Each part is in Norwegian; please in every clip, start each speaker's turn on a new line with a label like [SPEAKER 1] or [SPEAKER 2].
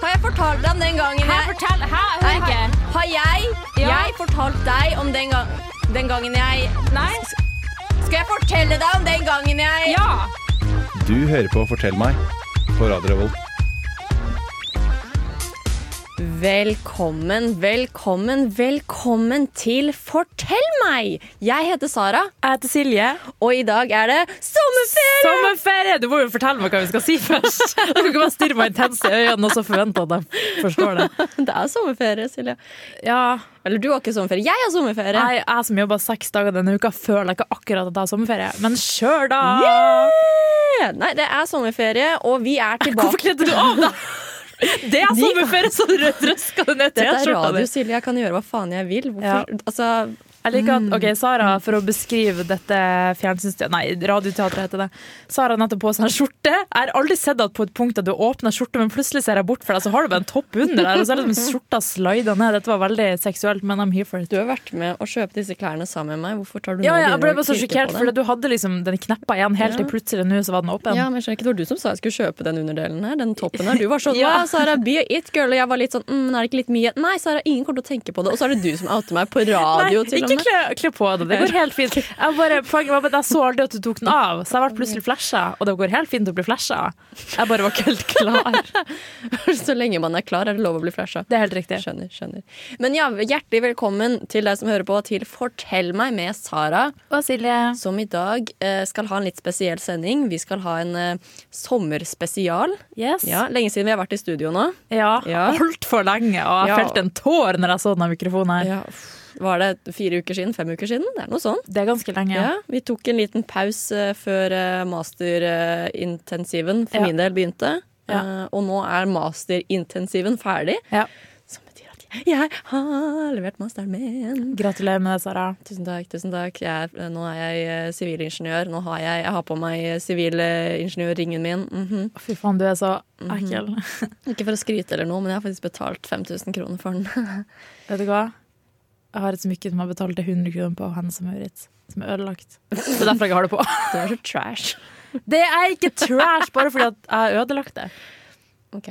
[SPEAKER 1] fortalte deg om den gangen
[SPEAKER 2] Her,
[SPEAKER 1] jeg
[SPEAKER 2] fortell! Hæ? Jeg
[SPEAKER 1] Nei,
[SPEAKER 2] hører ikke.
[SPEAKER 1] Har jeg,
[SPEAKER 2] Ja.
[SPEAKER 1] jeg fortalt deg om den, gang, den gangen jeg
[SPEAKER 2] Nei?
[SPEAKER 1] Skal jeg fortelle deg om den gangen jeg
[SPEAKER 2] Ja!
[SPEAKER 3] Du hører på Fortell meg på Radio Revolt.
[SPEAKER 1] Velkommen, velkommen, velkommen til Fortell meg! Jeg heter Sara,
[SPEAKER 4] Jeg heter Silje.
[SPEAKER 1] og i dag er det sommerferie!
[SPEAKER 4] Sommerferie! Du må jo fortelle meg hva vi skal si først. Du kan ikke bare stirre meg intenst i øynene og så forvente at de forstår det.
[SPEAKER 1] Det er sommerferie, Silje.
[SPEAKER 4] Ja,
[SPEAKER 1] Eller du har ikke sommerferie. Jeg har sommerferie!
[SPEAKER 4] Nei, jeg som jobber seks dager denne uka, føler ikke akkurat at jeg har sommerferie. Men kjør, da!
[SPEAKER 1] Yeah! Nei, det er sommerferie, og vi er
[SPEAKER 4] Hvorfor
[SPEAKER 1] tilbake.
[SPEAKER 4] kledde du av deg? Det er
[SPEAKER 1] De-
[SPEAKER 4] sommerferie, så du røska det ned
[SPEAKER 1] Dette er
[SPEAKER 4] T-skjorta
[SPEAKER 1] radio,
[SPEAKER 4] di.
[SPEAKER 1] Silje. Jeg kan gjøre hva faen jeg vil. Hvorfor? Altså,
[SPEAKER 4] Jeg liker at, ok, Sara, for å beskrive dette fjernsynsteatret Nei, radioteatret heter det. Sara har nettopp på seg en skjorte. Jeg har aldri sett at på et punkt at du åpner skjorta, men plutselig ser jeg bort fra deg, så har du bare en topp under der, og så er det som skjorta slider ned. Dette var veldig seksuelt, men I'm here for it.
[SPEAKER 1] Du har vært med å kjøpe disse klærne sammen med meg. Hvorfor tar du
[SPEAKER 4] Ja,
[SPEAKER 1] nå
[SPEAKER 4] ja, jeg
[SPEAKER 1] og
[SPEAKER 4] ble
[SPEAKER 1] begynner
[SPEAKER 4] bare
[SPEAKER 1] å
[SPEAKER 4] så
[SPEAKER 1] pirke
[SPEAKER 4] sjokkert,
[SPEAKER 1] på
[SPEAKER 4] for
[SPEAKER 1] den?
[SPEAKER 4] du hadde liksom den kneppa igjen helt til
[SPEAKER 1] Ja.
[SPEAKER 4] plutselig nå, så var den åpen.
[SPEAKER 1] Ja, men jeg skjønner ikke, Det var du som sa jeg skulle kjøpe den underdelen her. Den toppen her. Du var sånn
[SPEAKER 4] Ja.
[SPEAKER 1] ja. Sara, be it, girl. Og jeg var litt sånn mm, Er det ikke litt mye? Nei, Sara, ingen kommer til å tenke på det. Og så er det du som outer meg på radio,
[SPEAKER 4] Nei,
[SPEAKER 1] til og
[SPEAKER 4] ikke
[SPEAKER 1] med.
[SPEAKER 4] kle, kle på deg. Det går helt fint. Jeg bare, poenget var bare at jeg så aldri at du tok den av, så jeg ble plutselig flasha. Og det går helt fint å bli flasha. Jeg bare var ikke helt klar.
[SPEAKER 1] Så lenge man er klar, er det lov å bli flasha.
[SPEAKER 4] Det er helt riktig.
[SPEAKER 1] Skjønner, skjønner. Men ja, hjertelig velkommen til deg som hører på til Fortell meg med Sara,
[SPEAKER 4] Og Silje.
[SPEAKER 1] som i dag eh, skal ha en litt spesiell sending. Vi skal ha en eh, sommerspesial.
[SPEAKER 4] Yes.
[SPEAKER 1] Ja, Lenge siden vi har vært i studio nå.
[SPEAKER 4] Ja,
[SPEAKER 1] Ja.
[SPEAKER 4] altfor lenge, og jeg
[SPEAKER 1] Ja.
[SPEAKER 4] felte en tår når jeg så denne mikrofonen her.
[SPEAKER 1] Ja, uff. var det fire uker siden? Fem uker siden? Det er noe sånt.
[SPEAKER 4] Det er ganske lenge.
[SPEAKER 1] Ja, vi tok en liten pause før eh, masterintensiven for
[SPEAKER 4] Ja.
[SPEAKER 1] min del begynte.
[SPEAKER 4] Ja.
[SPEAKER 1] Eh, og nå er masterintensiven ferdig,
[SPEAKER 4] Ja.
[SPEAKER 1] som betyr at jeg har levert masteren min.
[SPEAKER 4] Gratulerer med det, Sara.
[SPEAKER 1] Tusen takk. tusen takk. Jeg er, nå er jeg eh, sivilingeniør. Nå har jeg, jeg har på meg eh, sivilingeniørringen min. Mhm.
[SPEAKER 4] Fy faen, du er så ekkel.
[SPEAKER 1] Ikke for å skryte eller noe, men jeg har faktisk betalt 5000 kroner for den.
[SPEAKER 4] Vet du hva? Jeg har et smykke som jeg betalte 100 kroner på, henne som Maurits. Som er ødelagt. Det er derfor jeg ikke har det på.
[SPEAKER 1] Du er så trash.
[SPEAKER 4] Det er ikke trash, bare fordi at jeg har ødelagt det.
[SPEAKER 1] Ok.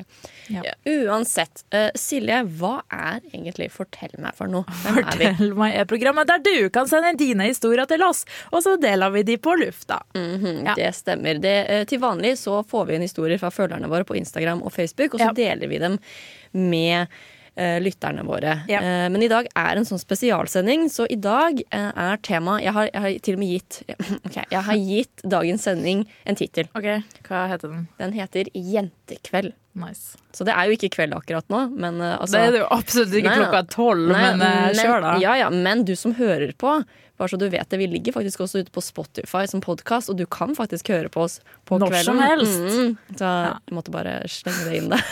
[SPEAKER 4] Ja.
[SPEAKER 1] Ja, uansett, eh, Silje, hva er egentlig Fortell meg for noe? Hvem er vi?
[SPEAKER 4] Fortell meg er programmet der du kan sende dine historier til oss, og så deler vi de på lufta.
[SPEAKER 1] Mhm,
[SPEAKER 4] Ja.
[SPEAKER 1] Det stemmer. Det, eh, til vanlig så får vi inn historier fra følgerne våre på Instagram og Facebook, og så
[SPEAKER 4] Ja.
[SPEAKER 1] deler vi dem med eh, lytterne våre.
[SPEAKER 4] Ja.
[SPEAKER 1] Eh, men i dag er en sånn spesialsending, så i dag eh, er tema jeg har, jeg har til og med gitt ok, Jeg har gitt dagens sending en tittel.
[SPEAKER 4] Ok, hva heter den?
[SPEAKER 1] Den heter Jentekveld.
[SPEAKER 4] Nice.
[SPEAKER 1] Så det er jo ikke kveld akkurat nå, men eh, altså
[SPEAKER 4] det er det jo absolutt ikke
[SPEAKER 1] Nei, nei.
[SPEAKER 4] klokka tolv,
[SPEAKER 1] Nei,
[SPEAKER 4] men eh, kjør da.
[SPEAKER 1] Ja, ja, men du som hører på, bare så du vet det, vi ligger faktisk også ute på Spotify som podkast, og du kan faktisk høre på oss på
[SPEAKER 4] Når
[SPEAKER 1] kvelden.
[SPEAKER 4] som helst.
[SPEAKER 1] Mm, så jeg måtte bare slenge det inn der.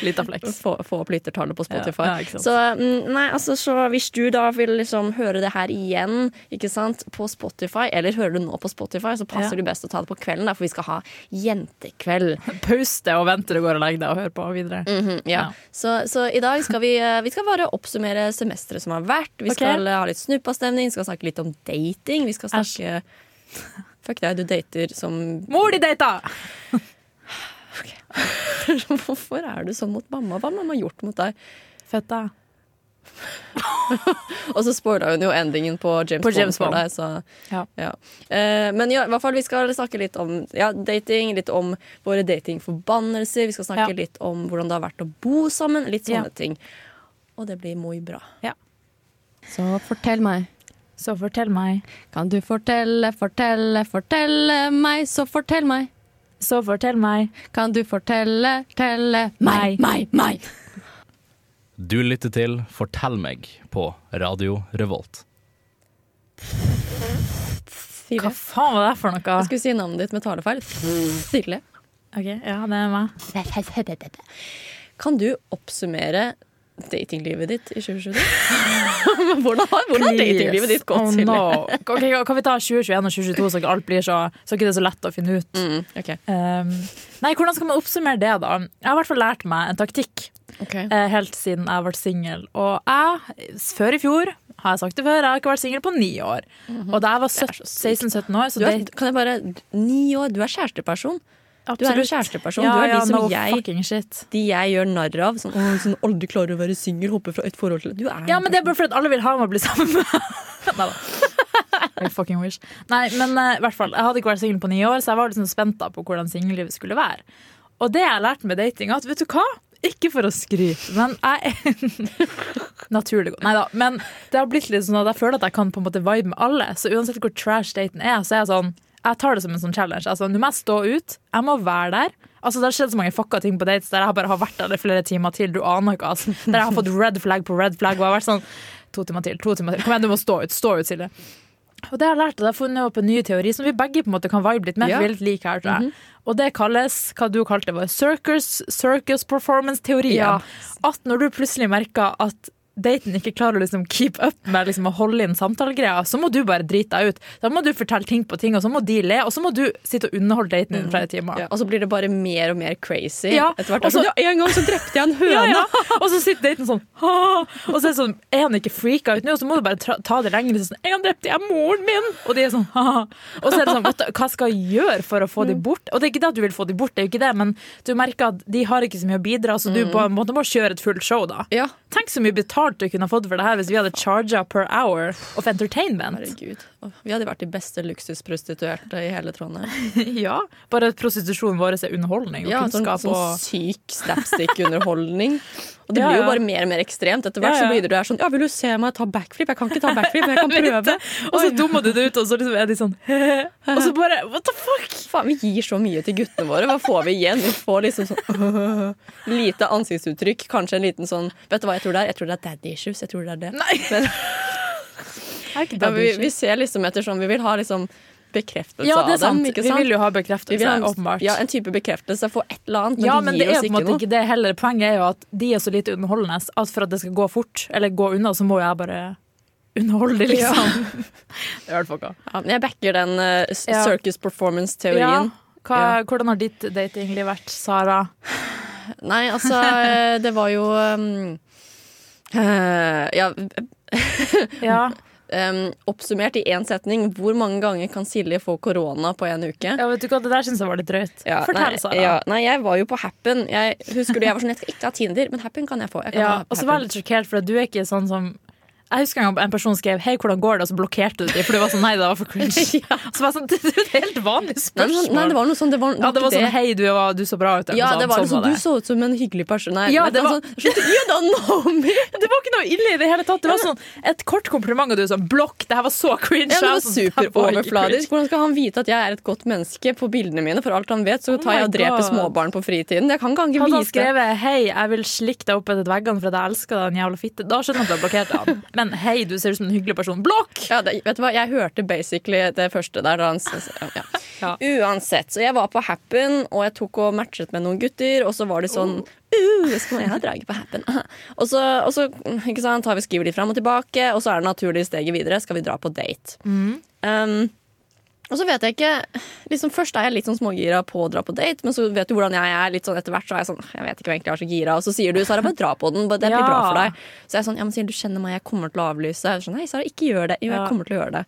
[SPEAKER 4] Litt av flex.
[SPEAKER 1] Få, få opp lyttertallet på Spotify.
[SPEAKER 4] Ja, ja, ikke sant.
[SPEAKER 1] så, mm, nei, altså, så hvis du da vil liksom høre det her igjen ikke sant, på Spotify, eller hører du nå på Spotify, så passer
[SPEAKER 4] Ja.
[SPEAKER 1] det best å ta det på kvelden, da, for vi skal ha jentekveld.
[SPEAKER 4] Paus det og vent til du går og legger deg og hører på videre.
[SPEAKER 1] Mhm, ja.
[SPEAKER 4] Ja.
[SPEAKER 1] Så, så i dag skal vi, eh, vi skal bare oppsummere semesteret som har vært. Vi
[SPEAKER 4] Ok.
[SPEAKER 1] skal eh, ha litt snuppastemning, vi skal snakke litt om dating. Vi skal snakke Fuck deg, du dater som
[SPEAKER 4] Mor di data!
[SPEAKER 1] Hvorfor er du sånn mot mamma? Hva har mamma gjort mot deg?
[SPEAKER 4] Fett, da.
[SPEAKER 1] Og så spoila hun jo endingen på James,
[SPEAKER 4] På James
[SPEAKER 1] Bond for
[SPEAKER 4] Bond.
[SPEAKER 1] deg, så
[SPEAKER 4] Ja.
[SPEAKER 1] ja. Eh, Men ja, i hvert fall vi skal snakke litt om ja, dating, litt om våre datingforbannelser. Vi skal snakke
[SPEAKER 4] Ja.
[SPEAKER 1] litt om hvordan det har vært å bo sammen, litt
[SPEAKER 4] Ja.
[SPEAKER 1] sånne ting. Og det blir moi bra.
[SPEAKER 5] Så fortell meg.
[SPEAKER 4] Så fortell meg.
[SPEAKER 5] Kan du fortelle, fortelle, fortelle meg, så fortell meg.
[SPEAKER 4] Så fortell meg.
[SPEAKER 5] Kan du fortelle, telle meg, meg, meg.
[SPEAKER 6] Du lytter til Fortell meg på Radio Revolt.
[SPEAKER 4] Hva faen Hmm. var det for noe?
[SPEAKER 1] Jeg skulle si navnet ditt med talefeil. Silje,
[SPEAKER 4] Ok, ja, det er meg.
[SPEAKER 1] kan du oppsummere datinglivet ditt i 2022? hvordan har, hvordan har datinglivet ditt gått,
[SPEAKER 4] Oh,
[SPEAKER 1] Silje?
[SPEAKER 4] no. Ok, kan vi ta 2021 og 2022, så ikke alt blir så, så ikke det er så lett å finne ut?
[SPEAKER 1] Mm, ok.
[SPEAKER 4] Um, nei, hvordan skal man oppsummere det, da? Jeg har i hvert fall lært meg en taktikk eh, helt siden jeg ble singel. Og jeg, s- før i fjor, har jeg sagt det før, jeg har ikke vært singel på ni år. Og da jeg var
[SPEAKER 1] så sykt.
[SPEAKER 4] 16-17 år, så
[SPEAKER 1] Du er,
[SPEAKER 4] det
[SPEAKER 1] kan jeg bare Ni år, du er kjæresteperson. Du er en
[SPEAKER 4] Absolutt.
[SPEAKER 1] kjæresteperson.
[SPEAKER 4] Ja,
[SPEAKER 1] du er
[SPEAKER 4] ja,
[SPEAKER 1] de som
[SPEAKER 4] no
[SPEAKER 1] jeg
[SPEAKER 4] fucking shit.
[SPEAKER 1] de jeg gjør narr av. Sånn, «Åh, sånn aldri klarer å være singel, hopper fra et forhold til Du er
[SPEAKER 4] Ja, men det er bare fordi at alle vil ha meg og bli sammen med Neida. I fucking wish. Nei, men eh, i hvert fall, jeg hadde ikke vært singel på ni år, så jeg var liksom spent da på hvordan singellivet skulle være. Og det jeg lærte med dating, er at vet du hva? Ikke for å skryte, men jeg Naturlig godt. Nei da. Men det har blitt litt sånn at jeg føler at jeg kan på en måte vibe med alle. Så uansett hvor trash daten er, så er jeg sånn Jeg tar det som en sånn challenge. Altså, nå må jeg stå ut. Jeg må være der. Altså, Det har skjedd så mange fucka ting på dates der jeg bare har vært der i flere timer til. Du aner ikke, altså. Der jeg har fått red flag på red flag. Og jeg har vært sånn To timer til, to timer til. Kom igjen, du må stå ut. Stå ut, Silje. Og det har jeg lært, og jeg har funnet opp en ny teori som vi begge på en måte kan vibe litt med.
[SPEAKER 1] Ja.
[SPEAKER 4] for Vi er litt like her, tror jeg. Og det kalles hva du kalte det, var circus, circus performance-teorien.
[SPEAKER 5] Ja.
[SPEAKER 4] At når du plutselig merker at daten ikke klarer å liksom keep up med liksom å holde inn samtalegreia, så må du bare drite deg ut. Da må du fortelle ting på ting, og så må de le, og så må du sitte og underholde daten din i flere timer.
[SPEAKER 1] Og så blir det bare mer og mer crazy.
[SPEAKER 4] Ja,
[SPEAKER 1] Etter hvert Altså-
[SPEAKER 4] og så-
[SPEAKER 1] Ja, En gang så drepte jeg en høne!
[SPEAKER 4] Ja, ja. Og så sitter daten sånn «Åh!» Og så er, det sånn, er han ikke freaka ut nå, og så må du bare tra- ta det lenger. Sånn, 'En gang drepte jeg moren min!' Og de er sånn «Åh!» Og så er det sånn vet du, Hva skal jeg gjøre for å få de bort? Og det er ikke det at du vil få de bort, det er jo ikke det, men du merker at de har ikke så mye å bidra, så du på en måte må kjøre et fullt show, da.
[SPEAKER 1] Ja.
[SPEAKER 4] Tenk så mye betalt du kunne fått for det her hvis vi hadde charga per hour of entertainment.
[SPEAKER 1] Herregud. Åh, Vi hadde vært de beste luksusprostituerte i hele Trondheim.
[SPEAKER 4] ja, Bare at prostitusjonen vår er underholdning og
[SPEAKER 1] Ja, sånn,
[SPEAKER 4] kunnskap
[SPEAKER 1] sånn
[SPEAKER 4] og
[SPEAKER 1] syk slapstick-underholdning. Og det
[SPEAKER 4] Ja,
[SPEAKER 1] blir jo
[SPEAKER 4] ja.
[SPEAKER 1] bare mer og mer ekstremt. Etter hvert
[SPEAKER 4] Ja, ja.
[SPEAKER 1] så blir det du er sånn Ja, vil du se meg ta backflip? Jeg kan ikke ta backflip, men jeg kan sånn prøve.
[SPEAKER 4] Og så dummer du det ut, og så liksom er de sånn Og så bare What the fuck?
[SPEAKER 1] Faen, vi gir så mye til guttene våre. Hva får vi igjen? Vi får liksom sånn lite ansiktsuttrykk. Kanskje en liten sånn Vet du hva jeg tror det er? Jeg tror det er daddy issues. Jeg tror det er det.
[SPEAKER 4] Nei.
[SPEAKER 1] Men, ja, vi,
[SPEAKER 4] vi,
[SPEAKER 1] vi ser liksom etter sånn Vi vil ha liksom bekreftelse
[SPEAKER 4] ja, det er sant.
[SPEAKER 1] av dem. Ikke
[SPEAKER 4] Vi
[SPEAKER 1] sant?
[SPEAKER 4] vil jo ha
[SPEAKER 1] Vi
[SPEAKER 4] bekreftelse,
[SPEAKER 1] vil ha en-
[SPEAKER 4] åpenbart.
[SPEAKER 1] Ja,
[SPEAKER 4] Ja,
[SPEAKER 1] en type bekreftelse for et eller annet, men
[SPEAKER 4] men
[SPEAKER 1] de
[SPEAKER 4] det
[SPEAKER 1] gir
[SPEAKER 4] er
[SPEAKER 1] oss
[SPEAKER 4] på en
[SPEAKER 1] ikke
[SPEAKER 4] måte
[SPEAKER 1] noe.
[SPEAKER 4] ikke det heller. Poenget er jo at de er så lite underholdende at for at det skal gå fort, eller gå unna, så må jeg bare underholde dem, liksom. det er helt fucka.
[SPEAKER 1] Ja, men jeg backer den eh, s-
[SPEAKER 4] Ja.
[SPEAKER 1] circus performance-teorien.
[SPEAKER 4] Hva, Hvordan har ditt datingliv vært, Sara?
[SPEAKER 1] Nei, altså, eh, det var jo um, eh, Ja,
[SPEAKER 4] Ja,
[SPEAKER 1] um, oppsummert i én setning, hvor mange ganger kan Silje få korona på en uke?
[SPEAKER 4] ja vet du hva, det der syns jeg var litt drøyt.
[SPEAKER 1] Ja,
[SPEAKER 4] Fortell,
[SPEAKER 1] nei,
[SPEAKER 4] Sara.
[SPEAKER 1] Ja, nei, jeg var jo på Happen. Jeg, husker du, jeg var sånn, jeg skal ikke ha Tinder, men Happen kan jeg få. Jeg kan
[SPEAKER 4] Ja,
[SPEAKER 1] ha
[SPEAKER 4] og så
[SPEAKER 1] Happen.
[SPEAKER 4] var jeg litt sjokkert, for at du er ikke sånn som jeg husker en gang en person skrev 'Hei, hvordan går det?' og så blokkerte du dem. For du var sånn 'Nei, det var for cringe'. Og Så var jeg sånn, Det er jo et helt vanlig
[SPEAKER 1] Nei,
[SPEAKER 4] spørsmål.
[SPEAKER 1] men- nei, det var noe sånn Det var,
[SPEAKER 4] Ja, det var
[SPEAKER 1] ikke
[SPEAKER 4] sånn 'hei, du, var- du så bra ut'. eller
[SPEAKER 1] Ja,
[SPEAKER 4] noe
[SPEAKER 1] det
[SPEAKER 4] sånt,
[SPEAKER 1] var
[SPEAKER 4] sånn
[SPEAKER 1] liksom,
[SPEAKER 4] var
[SPEAKER 1] du
[SPEAKER 4] det.
[SPEAKER 1] så ut som en hyggelig person. Nei,
[SPEAKER 4] Ja,
[SPEAKER 1] men
[SPEAKER 4] det var-
[SPEAKER 1] sånn, slutt, You don't know me!
[SPEAKER 4] Det var ikke noe ille i det hele tatt. Det var sånn et kort kompliment, og du sånn 'blokk, det her var så cringe'.
[SPEAKER 1] Ja, det var
[SPEAKER 4] Jeg sånn, «Det her var ikke
[SPEAKER 1] superoverfladisk. Hvordan skal han vite at jeg er et godt menneske på bildene mine? For alt han vet, så
[SPEAKER 4] Oh
[SPEAKER 1] tar jeg
[SPEAKER 4] my
[SPEAKER 1] og dreper
[SPEAKER 4] God.
[SPEAKER 1] småbarn på fritiden. Jeg kan ikke
[SPEAKER 4] cringe».
[SPEAKER 1] vise
[SPEAKER 4] Hadde han
[SPEAKER 1] det.
[SPEAKER 4] skrevet 'hei, jeg vil slikke deg opp etter veggene fordi jeg elsker deg, din jævla fitte', da skjønner jeg at du har blokkert han. Men 'hei, du ser ut som en hyggelig person'. Blokk!
[SPEAKER 1] Ja, det, vet du hva, jeg hørte basically det første der. Da han, s- ja.
[SPEAKER 4] Ja.
[SPEAKER 1] Uansett, så jeg var på Happen, og jeg tok og matchet med noen gutter, og så var de sånn
[SPEAKER 4] Oh.
[SPEAKER 1] Uh, så må jeg ha draget på Happen. Og så, og så ikke sant, har vi skriver de fram og tilbake, og så er det naturlige steget videre. Skal vi dra på date?
[SPEAKER 4] Mm.
[SPEAKER 1] Um, og så vet jeg ikke liksom Først er jeg litt sånn smågira på å dra på date, men så vet du hvordan jeg er. litt sånn Etter hvert så er jeg sånn Jeg vet ikke hva jeg egentlig er så gira. Og så sier du Sara, bare dra på den. bare Det blir
[SPEAKER 4] Ja.
[SPEAKER 1] bra for deg. Så jeg er sånn Ja, men sier du kjenner meg, jeg kommer til å avlyse. Jeg er sånn, Nei, Sara, ikke gjør det. Jo,
[SPEAKER 4] Ja.
[SPEAKER 1] jeg kommer til å gjøre det.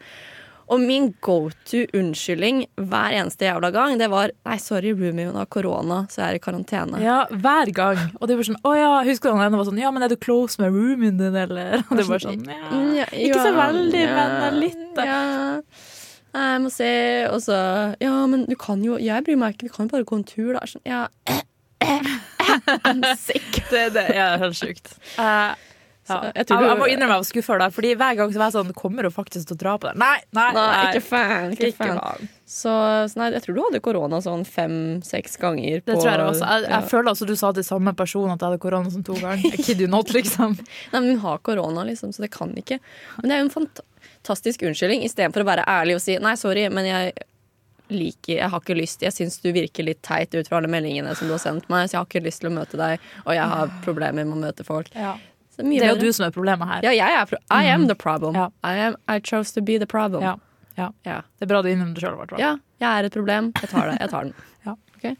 [SPEAKER 1] Og min go to unnskyldning hver eneste jævla gang, det var Nei, sorry, roomien har korona, så jeg er i karantene.
[SPEAKER 4] Ja, hver gang. Og det var sånn 'Å ja, husker du han ene var sånn 'Ja, men er du close med roomien din', eller? Og det var sånn
[SPEAKER 1] Mm, ja,
[SPEAKER 4] ja. Ikke så
[SPEAKER 1] ja,
[SPEAKER 4] veldig,
[SPEAKER 1] ja,
[SPEAKER 4] men litt. da.
[SPEAKER 1] Ja. Nei, Jeg må se, og så Ja, men du kan jo Jeg bryr meg ikke, vi kan jo bare gå en tur, da. Sånn, ja,
[SPEAKER 4] Det, det er helt sjukt. Eh, ja.
[SPEAKER 1] Så
[SPEAKER 4] jeg,
[SPEAKER 1] jeg tror
[SPEAKER 4] jeg
[SPEAKER 1] du-
[SPEAKER 4] må innrømme jeg var skuffa, da, Fordi hver gang så var jeg sånn Kommer hun faktisk til å dra på det? Nei, nei,
[SPEAKER 1] Nei, ikke fan. Ikke fan.
[SPEAKER 4] faen.
[SPEAKER 1] Så, så nei, jeg tror du hadde korona sånn fem-seks ganger.
[SPEAKER 4] Det
[SPEAKER 1] på-
[SPEAKER 4] tror jeg det også. Jeg, jeg
[SPEAKER 1] ja.
[SPEAKER 4] føler altså du sa til samme person at jeg hadde korona sånn to ganger. I kid you not, liksom.
[SPEAKER 1] Nei, men Hun har korona, liksom, så det kan ikke. Men det er jo en fantastisk unnskyldning istedenfor å være ærlig og si nei, sorry, men jeg liker, jeg har ikke lyst, jeg syns du virker litt teit ut fra alle meldingene som du har sendt meg, så jeg har ikke lyst til å møte deg, og jeg har problemer med å møte folk. Så mye
[SPEAKER 4] Det er jo
[SPEAKER 1] bedre.
[SPEAKER 4] du som er problemet her.
[SPEAKER 1] Ja, jeg er pro I am the problem.
[SPEAKER 4] Ja.
[SPEAKER 1] I, am, I chose to be the problem.
[SPEAKER 4] Ja. Ja.
[SPEAKER 1] Ja.
[SPEAKER 4] Det er bra du innrømmer det sjøl, i hvert fall.
[SPEAKER 1] Ja, jeg er et problem. Jeg tar det. Jeg tar den.
[SPEAKER 4] Ja.
[SPEAKER 1] Ok.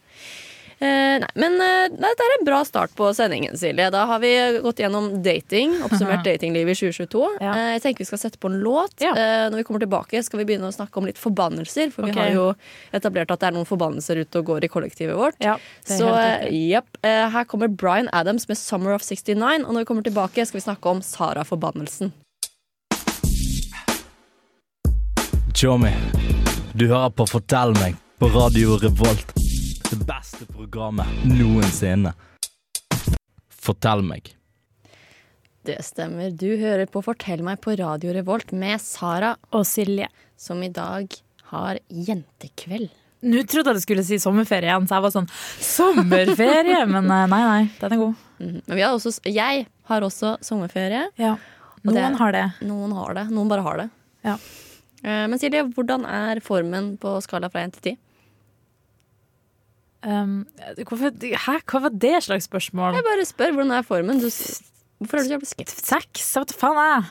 [SPEAKER 1] Eh, nei, men eh, dette er en bra start på sendingen, Silje. Da har vi gått gjennom dating. Oppsummert datinglivet i 2022.
[SPEAKER 4] Ja.
[SPEAKER 1] Eh, jeg tenker vi skal sette på en låt.
[SPEAKER 4] Ja.
[SPEAKER 1] Eh, når vi kommer tilbake, skal vi begynne å snakke om litt forbannelser. For
[SPEAKER 4] Ok.
[SPEAKER 1] vi har jo etablert at det er noen forbannelser ute og går i kollektivet vårt.
[SPEAKER 4] Ja, det er
[SPEAKER 1] Så
[SPEAKER 4] helt
[SPEAKER 1] eh, jepp. Eh, her kommer Bryan Adams med 'Summer of 69'. Og når vi kommer tilbake, skal vi snakke om Sara-forbannelsen.
[SPEAKER 6] Tjommi, du hører på Fortell meg på Radio Revolt. Det beste programmet noensinne. Fortell meg.
[SPEAKER 1] Det stemmer. Du hører på Fortell meg på Radio Revolt med Sara,
[SPEAKER 4] Og Silje.
[SPEAKER 1] som i dag har jentekveld.
[SPEAKER 4] Nå trodde jeg du skulle si sommerferie igjen, så jeg var sånn Sommerferie! Men eh, nei, nei, den er god.
[SPEAKER 1] Mhm. Men vi har også, jeg har også sommerferie.
[SPEAKER 4] Ja.
[SPEAKER 1] Og det-
[SPEAKER 4] Noen har det.
[SPEAKER 1] Noen har det, noen bare har det.
[SPEAKER 4] Ja.
[SPEAKER 1] Eh, Men Silje, hvordan er formen på skala fra 1 til 10?
[SPEAKER 4] Um, hvorfor, hæ, hva var det slags spørsmål?
[SPEAKER 1] Jeg bare spør, hvordan er formen? Du, s- hvorfor er du så jævlig skeptisk?
[SPEAKER 4] Seks? Jeg vet da faen, jeg.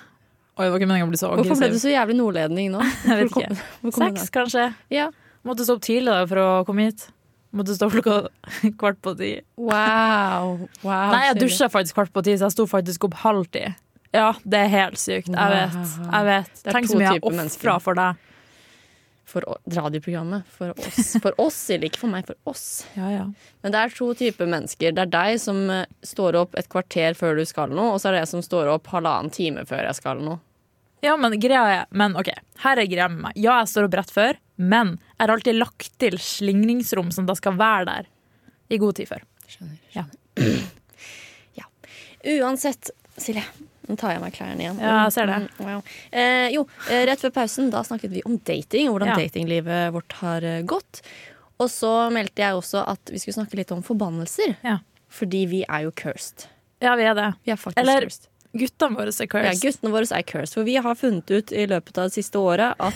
[SPEAKER 4] Oi, det var ikke meningen å bli så
[SPEAKER 1] Hvorfor ble du så
[SPEAKER 4] aggressiv.
[SPEAKER 1] jævlig nordledning nå?
[SPEAKER 4] Jeg
[SPEAKER 1] Hvor
[SPEAKER 4] vet
[SPEAKER 1] kom-
[SPEAKER 4] ikke.
[SPEAKER 1] hvor kom den
[SPEAKER 4] Seks, kanskje.
[SPEAKER 1] her? Ja.
[SPEAKER 4] Måtte stå opp tidlig da for å komme hit. Måtte stå opp klokka kvart på ti.
[SPEAKER 1] Wow. wow
[SPEAKER 4] Nei, jeg
[SPEAKER 1] Silje.
[SPEAKER 4] dusja faktisk kvart på ti, så jeg sto faktisk opp halv ti. Ja, det er helt sykt. Jeg vet. jeg vet.
[SPEAKER 1] Det er
[SPEAKER 4] Tenk
[SPEAKER 1] to
[SPEAKER 4] så mye jeg
[SPEAKER 1] typer
[SPEAKER 4] ofra
[SPEAKER 1] mennesker.
[SPEAKER 4] for deg.
[SPEAKER 1] For å- radioprogrammet. For oss, for oss Silje. Ikke for meg, for oss.
[SPEAKER 4] Ja, ja.
[SPEAKER 1] Men det er to typer mennesker. Det er deg som eh, står opp et kvarter før du skal noe, og så er det jeg som står opp halvannen time før jeg skal noe.
[SPEAKER 4] Ja, men greia er Men ok, her er greia med meg. Ja, jeg står opp rett før, men jeg har alltid lagt til slingringsrom som da skal være der i god tid før.
[SPEAKER 1] Skjønner.
[SPEAKER 4] Ja.
[SPEAKER 1] ja. Uansett, Silje. Nå tar jeg av meg klærne igjen.
[SPEAKER 4] Ja, jeg ser det.
[SPEAKER 1] Mm, Wow. Eh, jo, eh, rett før pausen da snakket vi om dating og hvordan
[SPEAKER 4] Ja.
[SPEAKER 1] datinglivet vårt har eh, gått. Og så meldte jeg også at vi skulle snakke litt om forbannelser.
[SPEAKER 4] Ja.
[SPEAKER 1] Fordi vi er jo cursed.
[SPEAKER 4] Ja, vi er det.
[SPEAKER 1] Vi er faktisk
[SPEAKER 4] Eller-
[SPEAKER 1] cursed.
[SPEAKER 4] Guttene våre er
[SPEAKER 1] Ja,
[SPEAKER 4] cursed.
[SPEAKER 1] guttene våre er cursed. For vi har funnet ut i løpet av det siste året at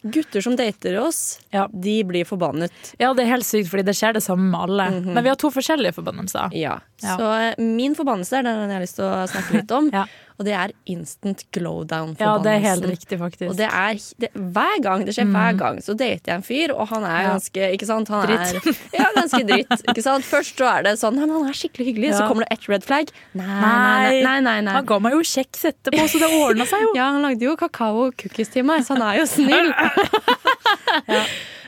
[SPEAKER 1] gutter som dater oss,
[SPEAKER 4] Ja.
[SPEAKER 1] de blir forbannet.
[SPEAKER 4] Ja, det er helt sykt, fordi det skjer det samme med alle. Men vi har to forskjellige forbannelser.
[SPEAKER 1] Ja.
[SPEAKER 4] Ja.
[SPEAKER 1] Så eh, min forbannelse er den jeg har lyst til å snakke litt om.
[SPEAKER 4] Ja.
[SPEAKER 1] Og det er instant
[SPEAKER 4] Ja, det er helt
[SPEAKER 1] glowdown-forbannelsen.
[SPEAKER 4] riktig, faktisk.
[SPEAKER 1] og det er det, hver gang, det skjer hver gang, så dater jeg en fyr, og han er
[SPEAKER 4] Ja.
[SPEAKER 1] ganske ikke sant? Han
[SPEAKER 4] Dritt.
[SPEAKER 1] Er, ja, ganske dritt. Ikke sant? Først så er det sånn Nei, men han er skikkelig hyggelig. Så
[SPEAKER 4] Ja.
[SPEAKER 1] kommer det ett red flag. Nei, nei, nei. nei, nei,
[SPEAKER 4] Han ga meg jo kjeks etterpå, så det ordna seg jo.
[SPEAKER 1] Ja, han lagde jo kakao og cookies til meg, så han er jo snill.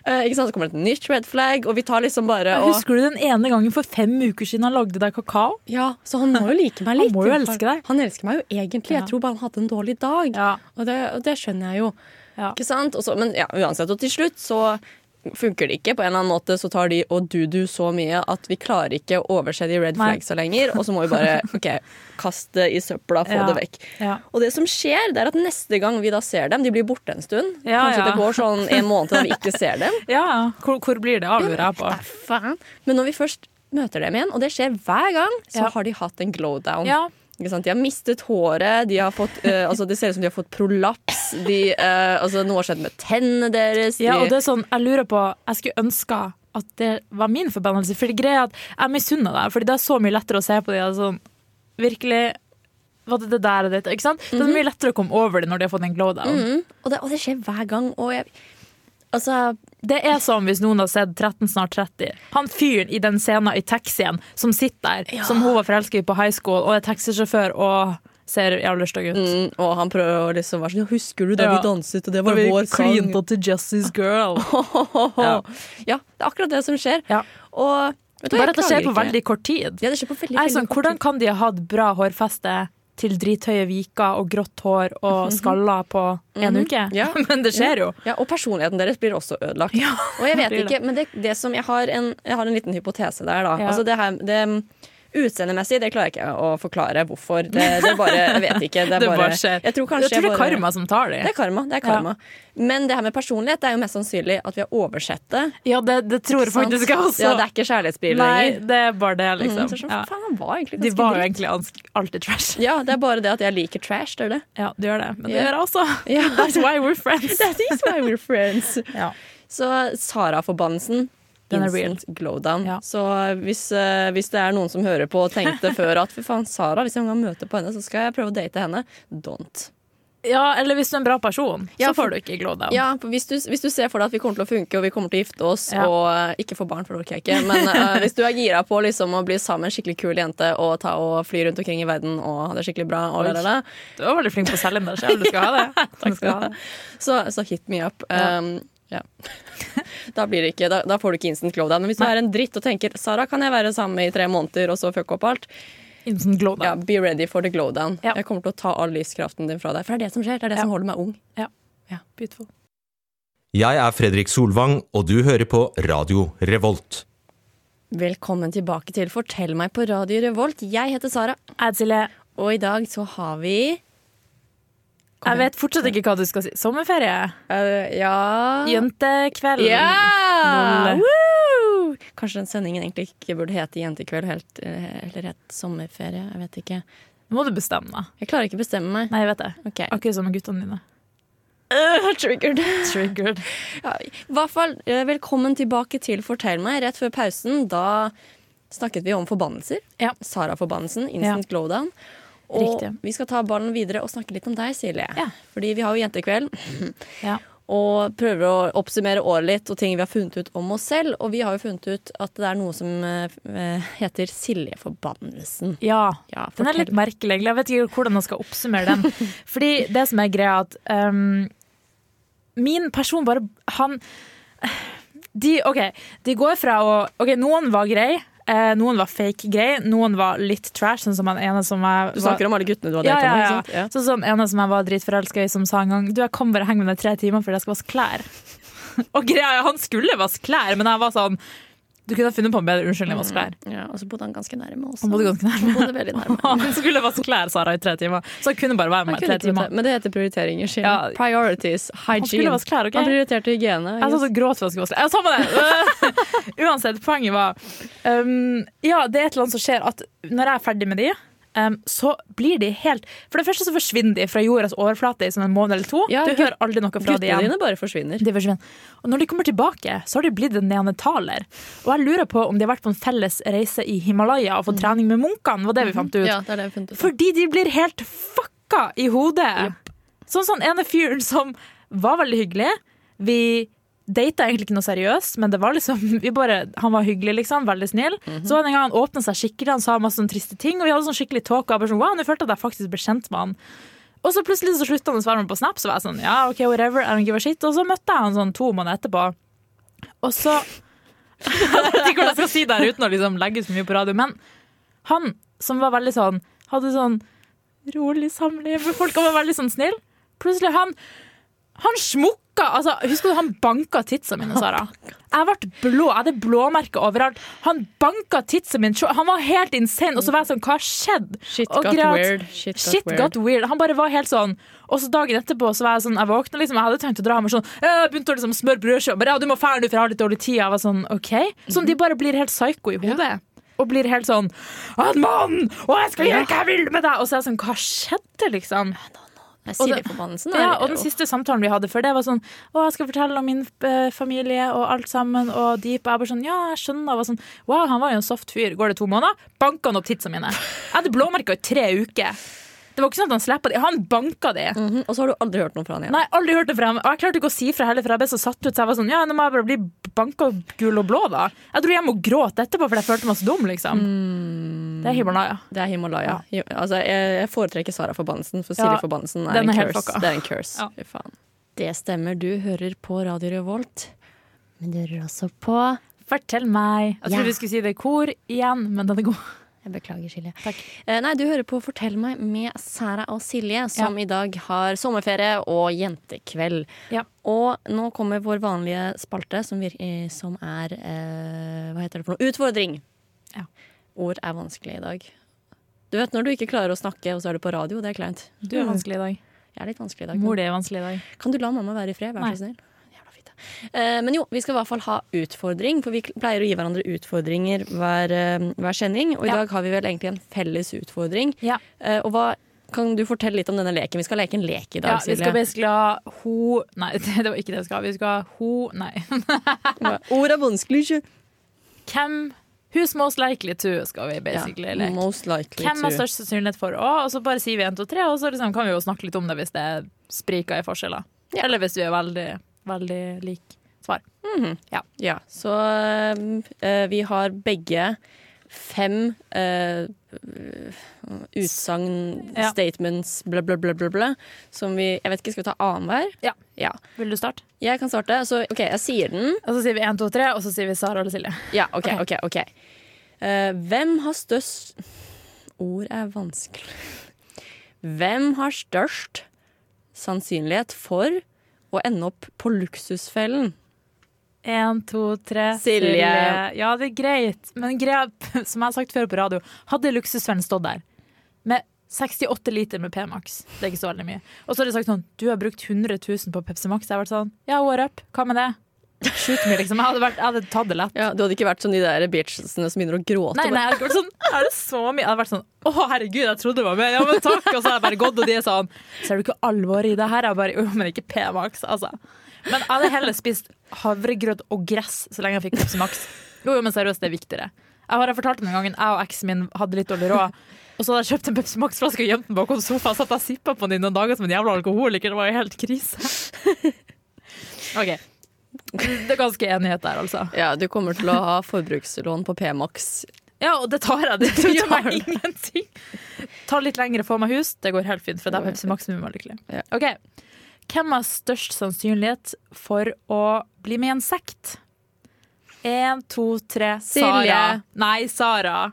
[SPEAKER 1] Eh, ikke sant? Så kommer det et nytt red flag, og vi tar liksom bare og
[SPEAKER 4] Husker du den ene gangen for fem uker siden han lagde deg kakao?
[SPEAKER 1] Ja, Så han må jo like meg
[SPEAKER 4] Han
[SPEAKER 1] litt.
[SPEAKER 4] må jo elske deg.
[SPEAKER 1] Han elsker meg jo egentlig.
[SPEAKER 4] Ja.
[SPEAKER 1] Jeg tror bare han hadde en dårlig dag.
[SPEAKER 4] Ja.
[SPEAKER 1] Og, det, og det skjønner jeg jo.
[SPEAKER 4] Ja.
[SPEAKER 1] Ikke sant? Og så- men ja, uansett, og til slutt så funker det ikke. På en eller annen måte så tar de og du-du så mye at vi klarer ikke å overse de red
[SPEAKER 4] Nei.
[SPEAKER 1] flagsa lenger. Og så må vi bare ok, kaste det i søpla, få
[SPEAKER 4] Ja.
[SPEAKER 1] det vekk.
[SPEAKER 4] Ja.
[SPEAKER 1] Og det som skjer, det er at neste gang vi da ser dem, de blir borte en stund.
[SPEAKER 4] Ja,
[SPEAKER 1] Kanskje
[SPEAKER 4] ja.
[SPEAKER 1] det går sånn en måned til da vi ikke ser dem.
[SPEAKER 4] ja. Hvor, hvor blir det av, lurer jeg på.
[SPEAKER 1] Nei, faen. Men når vi først møter dem igjen, og det skjer hver gang, så
[SPEAKER 4] Ja.
[SPEAKER 1] har de hatt en glowdown.
[SPEAKER 4] Ja.
[SPEAKER 1] Ikke sant? De har mistet håret, de har fått, eh, altså, det ser ut som de har fått prolaps. De, eh, altså, noe har skjedd med tennene deres.
[SPEAKER 4] Ja, og
[SPEAKER 1] de,
[SPEAKER 4] det er sånn, jeg lurer på Jeg skulle ønske at det var min forbannelse. For det greia er at jeg misunner deg, Fordi det er så mye lettere å se på dem. Sånn, virkelig Var det det der og det Ikke sant? Det
[SPEAKER 1] Mhm.
[SPEAKER 4] er mye lettere å komme over det når de har fått en glowdown.
[SPEAKER 1] Mm, og, det, og det skjer hver gang. Og jeg, altså,
[SPEAKER 4] Det er som hvis noen har sett 13 snart 30. Han fyren i den scenen i taxien som sitter der, som hun var forelsket i på high school, og er taxisjåfør og ser jævlig stygg ut.
[SPEAKER 1] mm, og han prøver å liksom være sånn ja, 'Husker du da
[SPEAKER 4] Ja.
[SPEAKER 1] vi danset, og det
[SPEAKER 4] Da
[SPEAKER 1] var
[SPEAKER 4] vi
[SPEAKER 1] vår sang?'
[SPEAKER 4] klinte til Justice Girl.
[SPEAKER 1] Ja. det er akkurat det som skjer.
[SPEAKER 4] Ja.
[SPEAKER 1] Og vet du hva,
[SPEAKER 4] Bare
[SPEAKER 1] jeg
[SPEAKER 4] at det skjer
[SPEAKER 1] klager
[SPEAKER 4] på
[SPEAKER 1] ikke.
[SPEAKER 4] veldig kort tid.
[SPEAKER 1] Ja, det skjer på veldig,
[SPEAKER 4] Jeg er
[SPEAKER 1] veldig
[SPEAKER 4] sånn,
[SPEAKER 1] kort
[SPEAKER 4] hvordan
[SPEAKER 1] tid.
[SPEAKER 4] kan de ha hatt bra hårfeste til drithøye viker og grått hår og skaller på en uke?
[SPEAKER 1] Mhm. Ja.
[SPEAKER 4] Men det skjer jo.
[SPEAKER 1] Ja, Og personligheten deres blir også ødelagt.
[SPEAKER 4] Ja,
[SPEAKER 1] og jeg vet
[SPEAKER 4] blir det.
[SPEAKER 1] ikke, men det, det som jeg har, en, jeg har en liten hypotese der, da.
[SPEAKER 4] Ja.
[SPEAKER 1] Altså det her, det, Utseendemessig det klarer jeg ikke å forklare hvorfor. Det, det er bare, Jeg vet ikke. Det, er
[SPEAKER 4] Det
[SPEAKER 1] bare,
[SPEAKER 4] bare skjer.
[SPEAKER 1] Jeg tror kanskje
[SPEAKER 4] jeg tror det
[SPEAKER 1] jeg
[SPEAKER 4] er
[SPEAKER 1] bare-
[SPEAKER 4] karma som tar
[SPEAKER 1] Det
[SPEAKER 4] dem.
[SPEAKER 1] er karma. det er karma Men det her med personlighet Det er jo mest sannsynlig at vi har oversett det.
[SPEAKER 4] Ja, det, det tror jeg
[SPEAKER 1] sant?
[SPEAKER 4] faktisk jeg også.
[SPEAKER 1] Ja, det er ikke kjærlighetsbrev
[SPEAKER 4] Nei,
[SPEAKER 1] lenger.
[SPEAKER 4] det er bare det,
[SPEAKER 1] Mm, så er det
[SPEAKER 4] liksom.
[SPEAKER 1] sånn,
[SPEAKER 4] Ja.
[SPEAKER 1] faen, han var egentlig
[SPEAKER 4] De
[SPEAKER 1] ganske
[SPEAKER 4] var jo
[SPEAKER 1] dritt.
[SPEAKER 4] egentlig ans- alltid trash.
[SPEAKER 1] Ja, det er bare det at jeg liker trash, det er det.
[SPEAKER 4] Ja, du gjør det. Men det
[SPEAKER 1] Ja.
[SPEAKER 4] gjør jeg også.
[SPEAKER 1] Ja.
[SPEAKER 4] That's why we're friends.
[SPEAKER 1] That is why we're friends.
[SPEAKER 4] Ja.
[SPEAKER 1] Så Sara-forbannelsen
[SPEAKER 4] Den er real.
[SPEAKER 1] Instant glowdown.
[SPEAKER 4] Ja.
[SPEAKER 1] Så hvis, eh, hvis det er noen som hører på og tenkte før at fy faen, Sara, hvis jeg en gang møter på henne, så skal jeg prøve å date henne, don't.
[SPEAKER 4] Ja, eller hvis du er en bra person,
[SPEAKER 1] Ja,
[SPEAKER 4] så
[SPEAKER 1] for-
[SPEAKER 4] får du ikke glow down.
[SPEAKER 1] Ja, for hvis, du, hvis du ser for deg at vi kommer til å funke og vi kommer til å gifte oss
[SPEAKER 4] Ja.
[SPEAKER 1] og eh, ikke få barn, for det orker jeg ikke, men eh, hvis du er gira på liksom, å bli sammen med en skikkelig kul jente og, ta og fly rundt omkring i verden og ha det skikkelig bra, og la, la, la,
[SPEAKER 4] Du var veldig flink på å selge den der selv, du skal ha det. Du skal ha det.
[SPEAKER 1] så, så hit me up.
[SPEAKER 4] Ja.
[SPEAKER 1] Um, ja. da, blir det ikke, da, da får du ikke instant glow down. Men hvis du er en dritt og tenker Sara, kan jeg være sammen med i tre måneder og så fucke opp alt?
[SPEAKER 4] Instant glow
[SPEAKER 1] Ja,
[SPEAKER 4] down.
[SPEAKER 1] Be ready for the glow down.
[SPEAKER 4] Ja.
[SPEAKER 1] Jeg kommer til å ta all lyskraften din fra deg. For det er det som skjer. Det er det
[SPEAKER 4] Ja.
[SPEAKER 1] som holder meg ung.
[SPEAKER 4] Beautiful.
[SPEAKER 2] Jeg er Fredrik Solvang, og du hører på Radio Revolt.
[SPEAKER 1] Velkommen tilbake til Fortell meg på Radio Revolt. Jeg heter Sara,
[SPEAKER 4] Adzile,
[SPEAKER 1] og i dag så har vi
[SPEAKER 4] jeg vet fortsatt ikke hva du skal si. Sommerferie?
[SPEAKER 1] Eh, Ja
[SPEAKER 4] Jentekveld?
[SPEAKER 1] Ja!
[SPEAKER 4] Lol.
[SPEAKER 1] Woo! Kanskje den sendingen egentlig ikke burde hete Jentekveld helt, eh, eller het Sommerferie. Jeg vet ikke.
[SPEAKER 4] Nå må du bestemme deg.
[SPEAKER 1] Jeg klarer ikke å bestemme meg.
[SPEAKER 4] Nei, jeg vet det.
[SPEAKER 1] Ok.
[SPEAKER 4] Akkurat som med guttene dine.
[SPEAKER 1] Øh, triggered.
[SPEAKER 4] Triggered.
[SPEAKER 1] Ja, I hvert fall, eh, velkommen tilbake til Fortell meg. Rett før pausen da snakket vi om forbannelser.
[SPEAKER 4] Ja.
[SPEAKER 1] Sara-forbannelsen. Instant glowdown. Og
[SPEAKER 4] Riktig.
[SPEAKER 1] vi skal ta ballen videre og snakke litt om deg, Silje.
[SPEAKER 4] Ja.
[SPEAKER 1] Fordi vi har jo Jentekveld.
[SPEAKER 4] Ja.
[SPEAKER 1] og prøver å oppsummere året litt og ting vi har funnet ut om oss selv. Og vi har jo funnet ut at det er noe som eh, heter Siljeforbannelsen.
[SPEAKER 4] Ja.
[SPEAKER 1] Ja,
[SPEAKER 4] Den er
[SPEAKER 1] fortell.
[SPEAKER 4] litt merkelig, egentlig. Jeg vet ikke hvordan jeg skal oppsummere den. Fordi det som er greia, er at um, min person bare Han De, OK, de går fra å OK, noen var grei. eh, noen var fake grei, noen var litt trash, sånn som han ene som jeg
[SPEAKER 1] Du
[SPEAKER 4] var
[SPEAKER 1] snakker om alle guttene du har
[SPEAKER 4] ja,
[SPEAKER 1] delt
[SPEAKER 4] ja,
[SPEAKER 1] med?
[SPEAKER 4] ja.
[SPEAKER 1] ikke sant? Ja.
[SPEAKER 4] Sånn som en som jeg var dritforelska i, som sa en gang Du, jeg kan bare henge med deg tre timer fordi jeg skal vaske klær. Og greia er, han skulle vaske klær, men jeg var sånn Du kunne ha funnet på en bedre unnskyldning enn å
[SPEAKER 1] Mm.
[SPEAKER 4] vaske klær.
[SPEAKER 1] Ja, og så bodde han ganske nærme også.
[SPEAKER 4] Han bodde ganske nærme.
[SPEAKER 1] Han bodde veldig nærme.
[SPEAKER 4] Han skulle vaske klær, Sara, i tre timer. Så han kunne bare være
[SPEAKER 1] Han
[SPEAKER 4] med i
[SPEAKER 1] kunne
[SPEAKER 4] tre
[SPEAKER 1] ikke
[SPEAKER 4] timer.
[SPEAKER 1] betale- Men det heter prioriteringer. Silje.
[SPEAKER 4] Ja.
[SPEAKER 1] Priorities. Hygiene.
[SPEAKER 4] Han skulle vaske klær, OK? Altså,
[SPEAKER 1] Han prioriterte hygiene.
[SPEAKER 4] Jeg satt og gråt for å skulle vaske klær. Ja, Samme det! Uansett, poenget var um, Ja, det er et eller annet som skjer at når jeg er ferdig med de, um, så blir de helt For det første så forsvinner de fra jordas overflate i sånn en måned eller to.
[SPEAKER 1] Ja,
[SPEAKER 4] du
[SPEAKER 1] gut-
[SPEAKER 4] hører aldri noe fra de
[SPEAKER 1] Guttene
[SPEAKER 4] igjen.
[SPEAKER 1] dine bare forsvinner.
[SPEAKER 4] De forsvinner. Og når de kommer tilbake, så har de blitt en neandertaler. Og jeg lurer på om de har vært på en felles reise i Himalaya og fått trening med munkene, var det vi fant ut.
[SPEAKER 1] Ja, det er det vi har funnet ut.
[SPEAKER 4] Fordi de blir helt fucka i hodet. Sånn sånn ene fyren som var veldig hyggelig. Vi data egentlig ikke noe seriøst, men det var liksom, vi bare, han var hyggelig, liksom, veldig snill. Så var det en gang han åpna seg skikkelig, han sa masse sånn triste ting, og vi hadde sånn skikkelig talk. Og jeg bare sånn, wow, nå følte jeg at jeg faktisk ble kjent med han. Og så plutselig så slutta han å svare meg på Snap, så var jeg sånn, ja, ok, whatever, I don't give a shit. Og så møtte jeg han sånn to måneder etterpå. Og så Jeg vet ikke hvordan jeg skal si det her uten å liksom legge ut for mye på radio, men han som var veldig sånn Hadde sånn rolig samliv med folk og var veldig sånn snill. Plutselig han Han smukka! Altså, husker du han banka titsa mine, Sara? Jeg ble blå. Jeg hadde blåmerker overalt. Han banka titsa mine. Han var helt insane. Og så var jeg sånn, hva skjedde?
[SPEAKER 1] Shit
[SPEAKER 4] Og
[SPEAKER 1] got
[SPEAKER 4] greia at-
[SPEAKER 1] weird. Shit got
[SPEAKER 4] Shit
[SPEAKER 1] weird.
[SPEAKER 4] got weird. Han bare var helt sånn. Og så dagen etterpå så var jeg sånn, jeg våkna liksom, jeg hadde tenkt å dra hjem og sånn, jeg begynte å liksom smøre brødskiva, bare ja, du må fære nå, for jeg har litt dårlig tid. Jeg var sånn, ok. Sånn,
[SPEAKER 1] Mhm.
[SPEAKER 4] de bare blir helt psyko i hodet. Og blir helt sånn, en mann, og jeg skal gjøre hva jeg vil med deg. Og så er jeg sånn, hva skjedde liksom?
[SPEAKER 1] Nei,
[SPEAKER 4] og det-
[SPEAKER 1] Siljeforbannelsen er
[SPEAKER 4] Ja, og den
[SPEAKER 1] jo-
[SPEAKER 4] siste samtalen vi hadde før det var sånn, å, jeg skal fortelle om min eh, familie og alt sammen, og deep, og jeg bare sånn, ja, jeg skjønner, og var sånn, wow, han var jo en soft fyr. Går det to måneder? Banka han opp titsa mine. Jeg hadde blåmerker i tre uker. Det var ikke sånn at han slappet de, han banka de.
[SPEAKER 1] Mhm, Og så har du aldri hørt noe fra han igjen.
[SPEAKER 4] Nei, aldri hørt det fra ham. Og jeg klarte ikke å si fra heller, for jeg ble så satt ut. Så jeg var sånn, ja, nå må jeg bare bli banka gul og blå, da. Jeg dro hjem og gråt etterpå, for jeg følte meg så dum, liksom. Det er Himalaya.
[SPEAKER 1] Det er Himalaya. Hi- Altså, jeg, jeg foretrekker Sara-forbannelsen, for
[SPEAKER 4] Ja,
[SPEAKER 1] Silje-forbannelsen er,
[SPEAKER 4] den
[SPEAKER 1] en
[SPEAKER 4] er helt
[SPEAKER 1] curse.
[SPEAKER 4] fucka.
[SPEAKER 1] Det er en curse.
[SPEAKER 4] Ja.
[SPEAKER 1] Fy faen. Det stemmer, du hører på Radio Revolt. Men du hører også på
[SPEAKER 4] Fortell meg. Jeg
[SPEAKER 1] Ja.
[SPEAKER 4] trodde vi skulle si det i kor igjen, men den er god.
[SPEAKER 1] Jeg beklager, Silje.
[SPEAKER 4] Takk.
[SPEAKER 1] Eh, nei, du hører på Fortell meg med Sara og Silje, som i dag har sommerferie og jentekveld.
[SPEAKER 4] Ja.
[SPEAKER 1] Og nå kommer vår vanlige spalte, som, vir eh, som er eh, Hva heter det for noe? Utfordring!
[SPEAKER 4] Ja.
[SPEAKER 1] Ord er vanskelig i dag. Du vet når du ikke klarer å snakke, og så er du på radio. Det er kleint.
[SPEAKER 4] Du er vanskelig i dag.
[SPEAKER 1] Jeg er litt vanskelig i dag. men-
[SPEAKER 4] Mm. Mor di er vanskelig i dag.
[SPEAKER 1] Kan du la mamma være i fred, vær
[SPEAKER 4] Nei.
[SPEAKER 1] så snill? Jævla fitte. Eh, men jo, vi skal i hvert fall ha utfordring, for vi kl- pleier å gi hverandre utfordringer hver, eh, hver sending. Og i
[SPEAKER 4] Ja.
[SPEAKER 1] dag har vi vel egentlig en felles utfordring.
[SPEAKER 4] Ja.
[SPEAKER 1] Eh, og hva kan du fortelle litt om denne leken? Vi skal leke en lek i dag,
[SPEAKER 4] Ja, vi
[SPEAKER 1] Silje.
[SPEAKER 4] skal basically ha ho Nei, det var ikke det vi skal ha. Vi skal ha ho Nei.
[SPEAKER 1] Ord er vanskelig, ikke?
[SPEAKER 4] Hvem Who's most likely to, skal vi basically
[SPEAKER 1] Ja,
[SPEAKER 4] leke.
[SPEAKER 1] most likely
[SPEAKER 4] Hvem har
[SPEAKER 1] to.
[SPEAKER 4] størst sannsynlighet for å, og så bare sier vi 1, 2, 3, og så liksom kan vi jo snakke litt om det hvis det spriker i forskjeller. Eller hvis vi er veldig, veldig like svar.
[SPEAKER 1] Ja, så øhm, øh, vi har begge fem øh, utsagn,
[SPEAKER 4] Ja.
[SPEAKER 1] statements, bla, bla, bla, bla, bla, som vi Jeg vet ikke, skal vi ta annenhver?
[SPEAKER 4] Ja.
[SPEAKER 1] ja.
[SPEAKER 4] Vil du starte?
[SPEAKER 1] Jeg kan starte. Så OK, jeg sier den.
[SPEAKER 4] Og så sier vi 1, 2, 3, og så sier vi Sara eller Silje.
[SPEAKER 1] Ja, OK,
[SPEAKER 4] Ok.
[SPEAKER 1] OK. ok. Eh, hvem har størst Ord er vanskelig. Hvem har størst sannsynlighet for å ende opp på luksusfellen?
[SPEAKER 4] 1, 2, 3,
[SPEAKER 1] Silje.
[SPEAKER 4] Ja, det er greit. Men greia, som jeg har sagt før på radio, hadde luksusvennen stått der med 68 liter med P-Max, det er ikke så veldig mye. Og så har de sagt sånn, du har brukt 100 000 på Pepsi Max. Jeg har vært sånn, ja, what up? Hva med det? Shoot me, liksom. Jeg hadde, vært, jeg hadde tatt det lett.
[SPEAKER 1] Ja, Du hadde ikke vært sånn de der bitchene som begynner å gråte.
[SPEAKER 4] Nei, nei, jeg hadde ikke vært sånn Er det så mye? Jeg hadde vært sånn Å, herregud, jeg trodde det var mer. Ja, men takk. Og så har jeg bare gått, og de er sånn Ser du ikke alvoret i det her? Jeg bare Jo, men ikke P-Max, altså. Men jeg hadde heller spist havregrøt og gress så lenge jeg fikk Pepsi Max. Jo, jo, men seriøst, det er viktigere. Jeg har fortalt om den gangen jeg og eksen min hadde litt dårlig råd. Og så hadde jeg kjøpt en Pepsi Max-flaske og gjemt den bakom sofaen. Satt jeg og sippa på den i noen dager som en jævla alkoholiker. Det var jo helt krise. OK. Det er ganske enighet der, altså.
[SPEAKER 1] Ja, du kommer til å ha forbrukslån på P-Max.
[SPEAKER 4] Ja, og det tar jeg. Det
[SPEAKER 1] Du
[SPEAKER 4] gjør
[SPEAKER 1] tar
[SPEAKER 4] meg ingenting. Ta litt lengre, få meg hus. Det går helt fint, for det er Pepsi Max som gjør meg lykkelig.
[SPEAKER 1] Ja.
[SPEAKER 4] Ok, Hvem har størst sannsynlighet for å bli med i en sekt? Én, to, tre.
[SPEAKER 1] Silje.
[SPEAKER 4] Sara. Nei, Sara.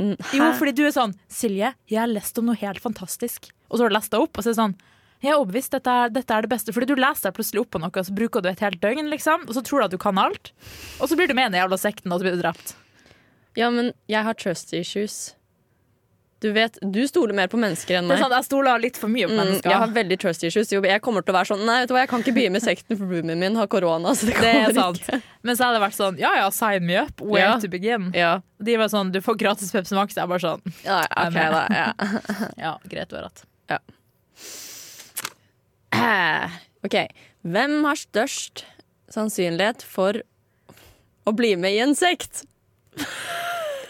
[SPEAKER 4] Jo, fordi du er sånn Silje, jeg har lest om noe helt fantastisk. Og så har du lest deg opp, og så er det sånn Jeg er overbevist, dette er, dette er det beste. Fordi du leser deg plutselig opp på noe, og så bruker du et helt døgn, liksom. Og så tror du at du kan alt. Og så blir du med i den jævla sekten, og så blir du drept.
[SPEAKER 1] Ja, men jeg har trust issues. Du vet, du stoler mer på mennesker enn
[SPEAKER 4] Det
[SPEAKER 1] meg.
[SPEAKER 4] er sant, jeg stoler litt for mye på
[SPEAKER 1] Mm,
[SPEAKER 4] mennesker.
[SPEAKER 1] jeg har veldig trust issues. Jo, Jeg kommer til å være sånn Nei, vet du hva, jeg kan ikke bli med i sekten, for roomien min har korona. Så det
[SPEAKER 4] det
[SPEAKER 1] kommer
[SPEAKER 4] er sant.
[SPEAKER 1] ikke.
[SPEAKER 4] Mens jeg hadde vært sånn, ja ja, sign me up, where
[SPEAKER 1] Ja.
[SPEAKER 4] to begin?
[SPEAKER 1] Ja.
[SPEAKER 4] De var sånn, du får gratis Pepsi Max. Jeg bare sånn,
[SPEAKER 1] Ja, OK, da. Ja.
[SPEAKER 4] ja, greit, du har rett.
[SPEAKER 1] Eh, OK. Hvem har størst sannsynlighet for å bli med i en sekt?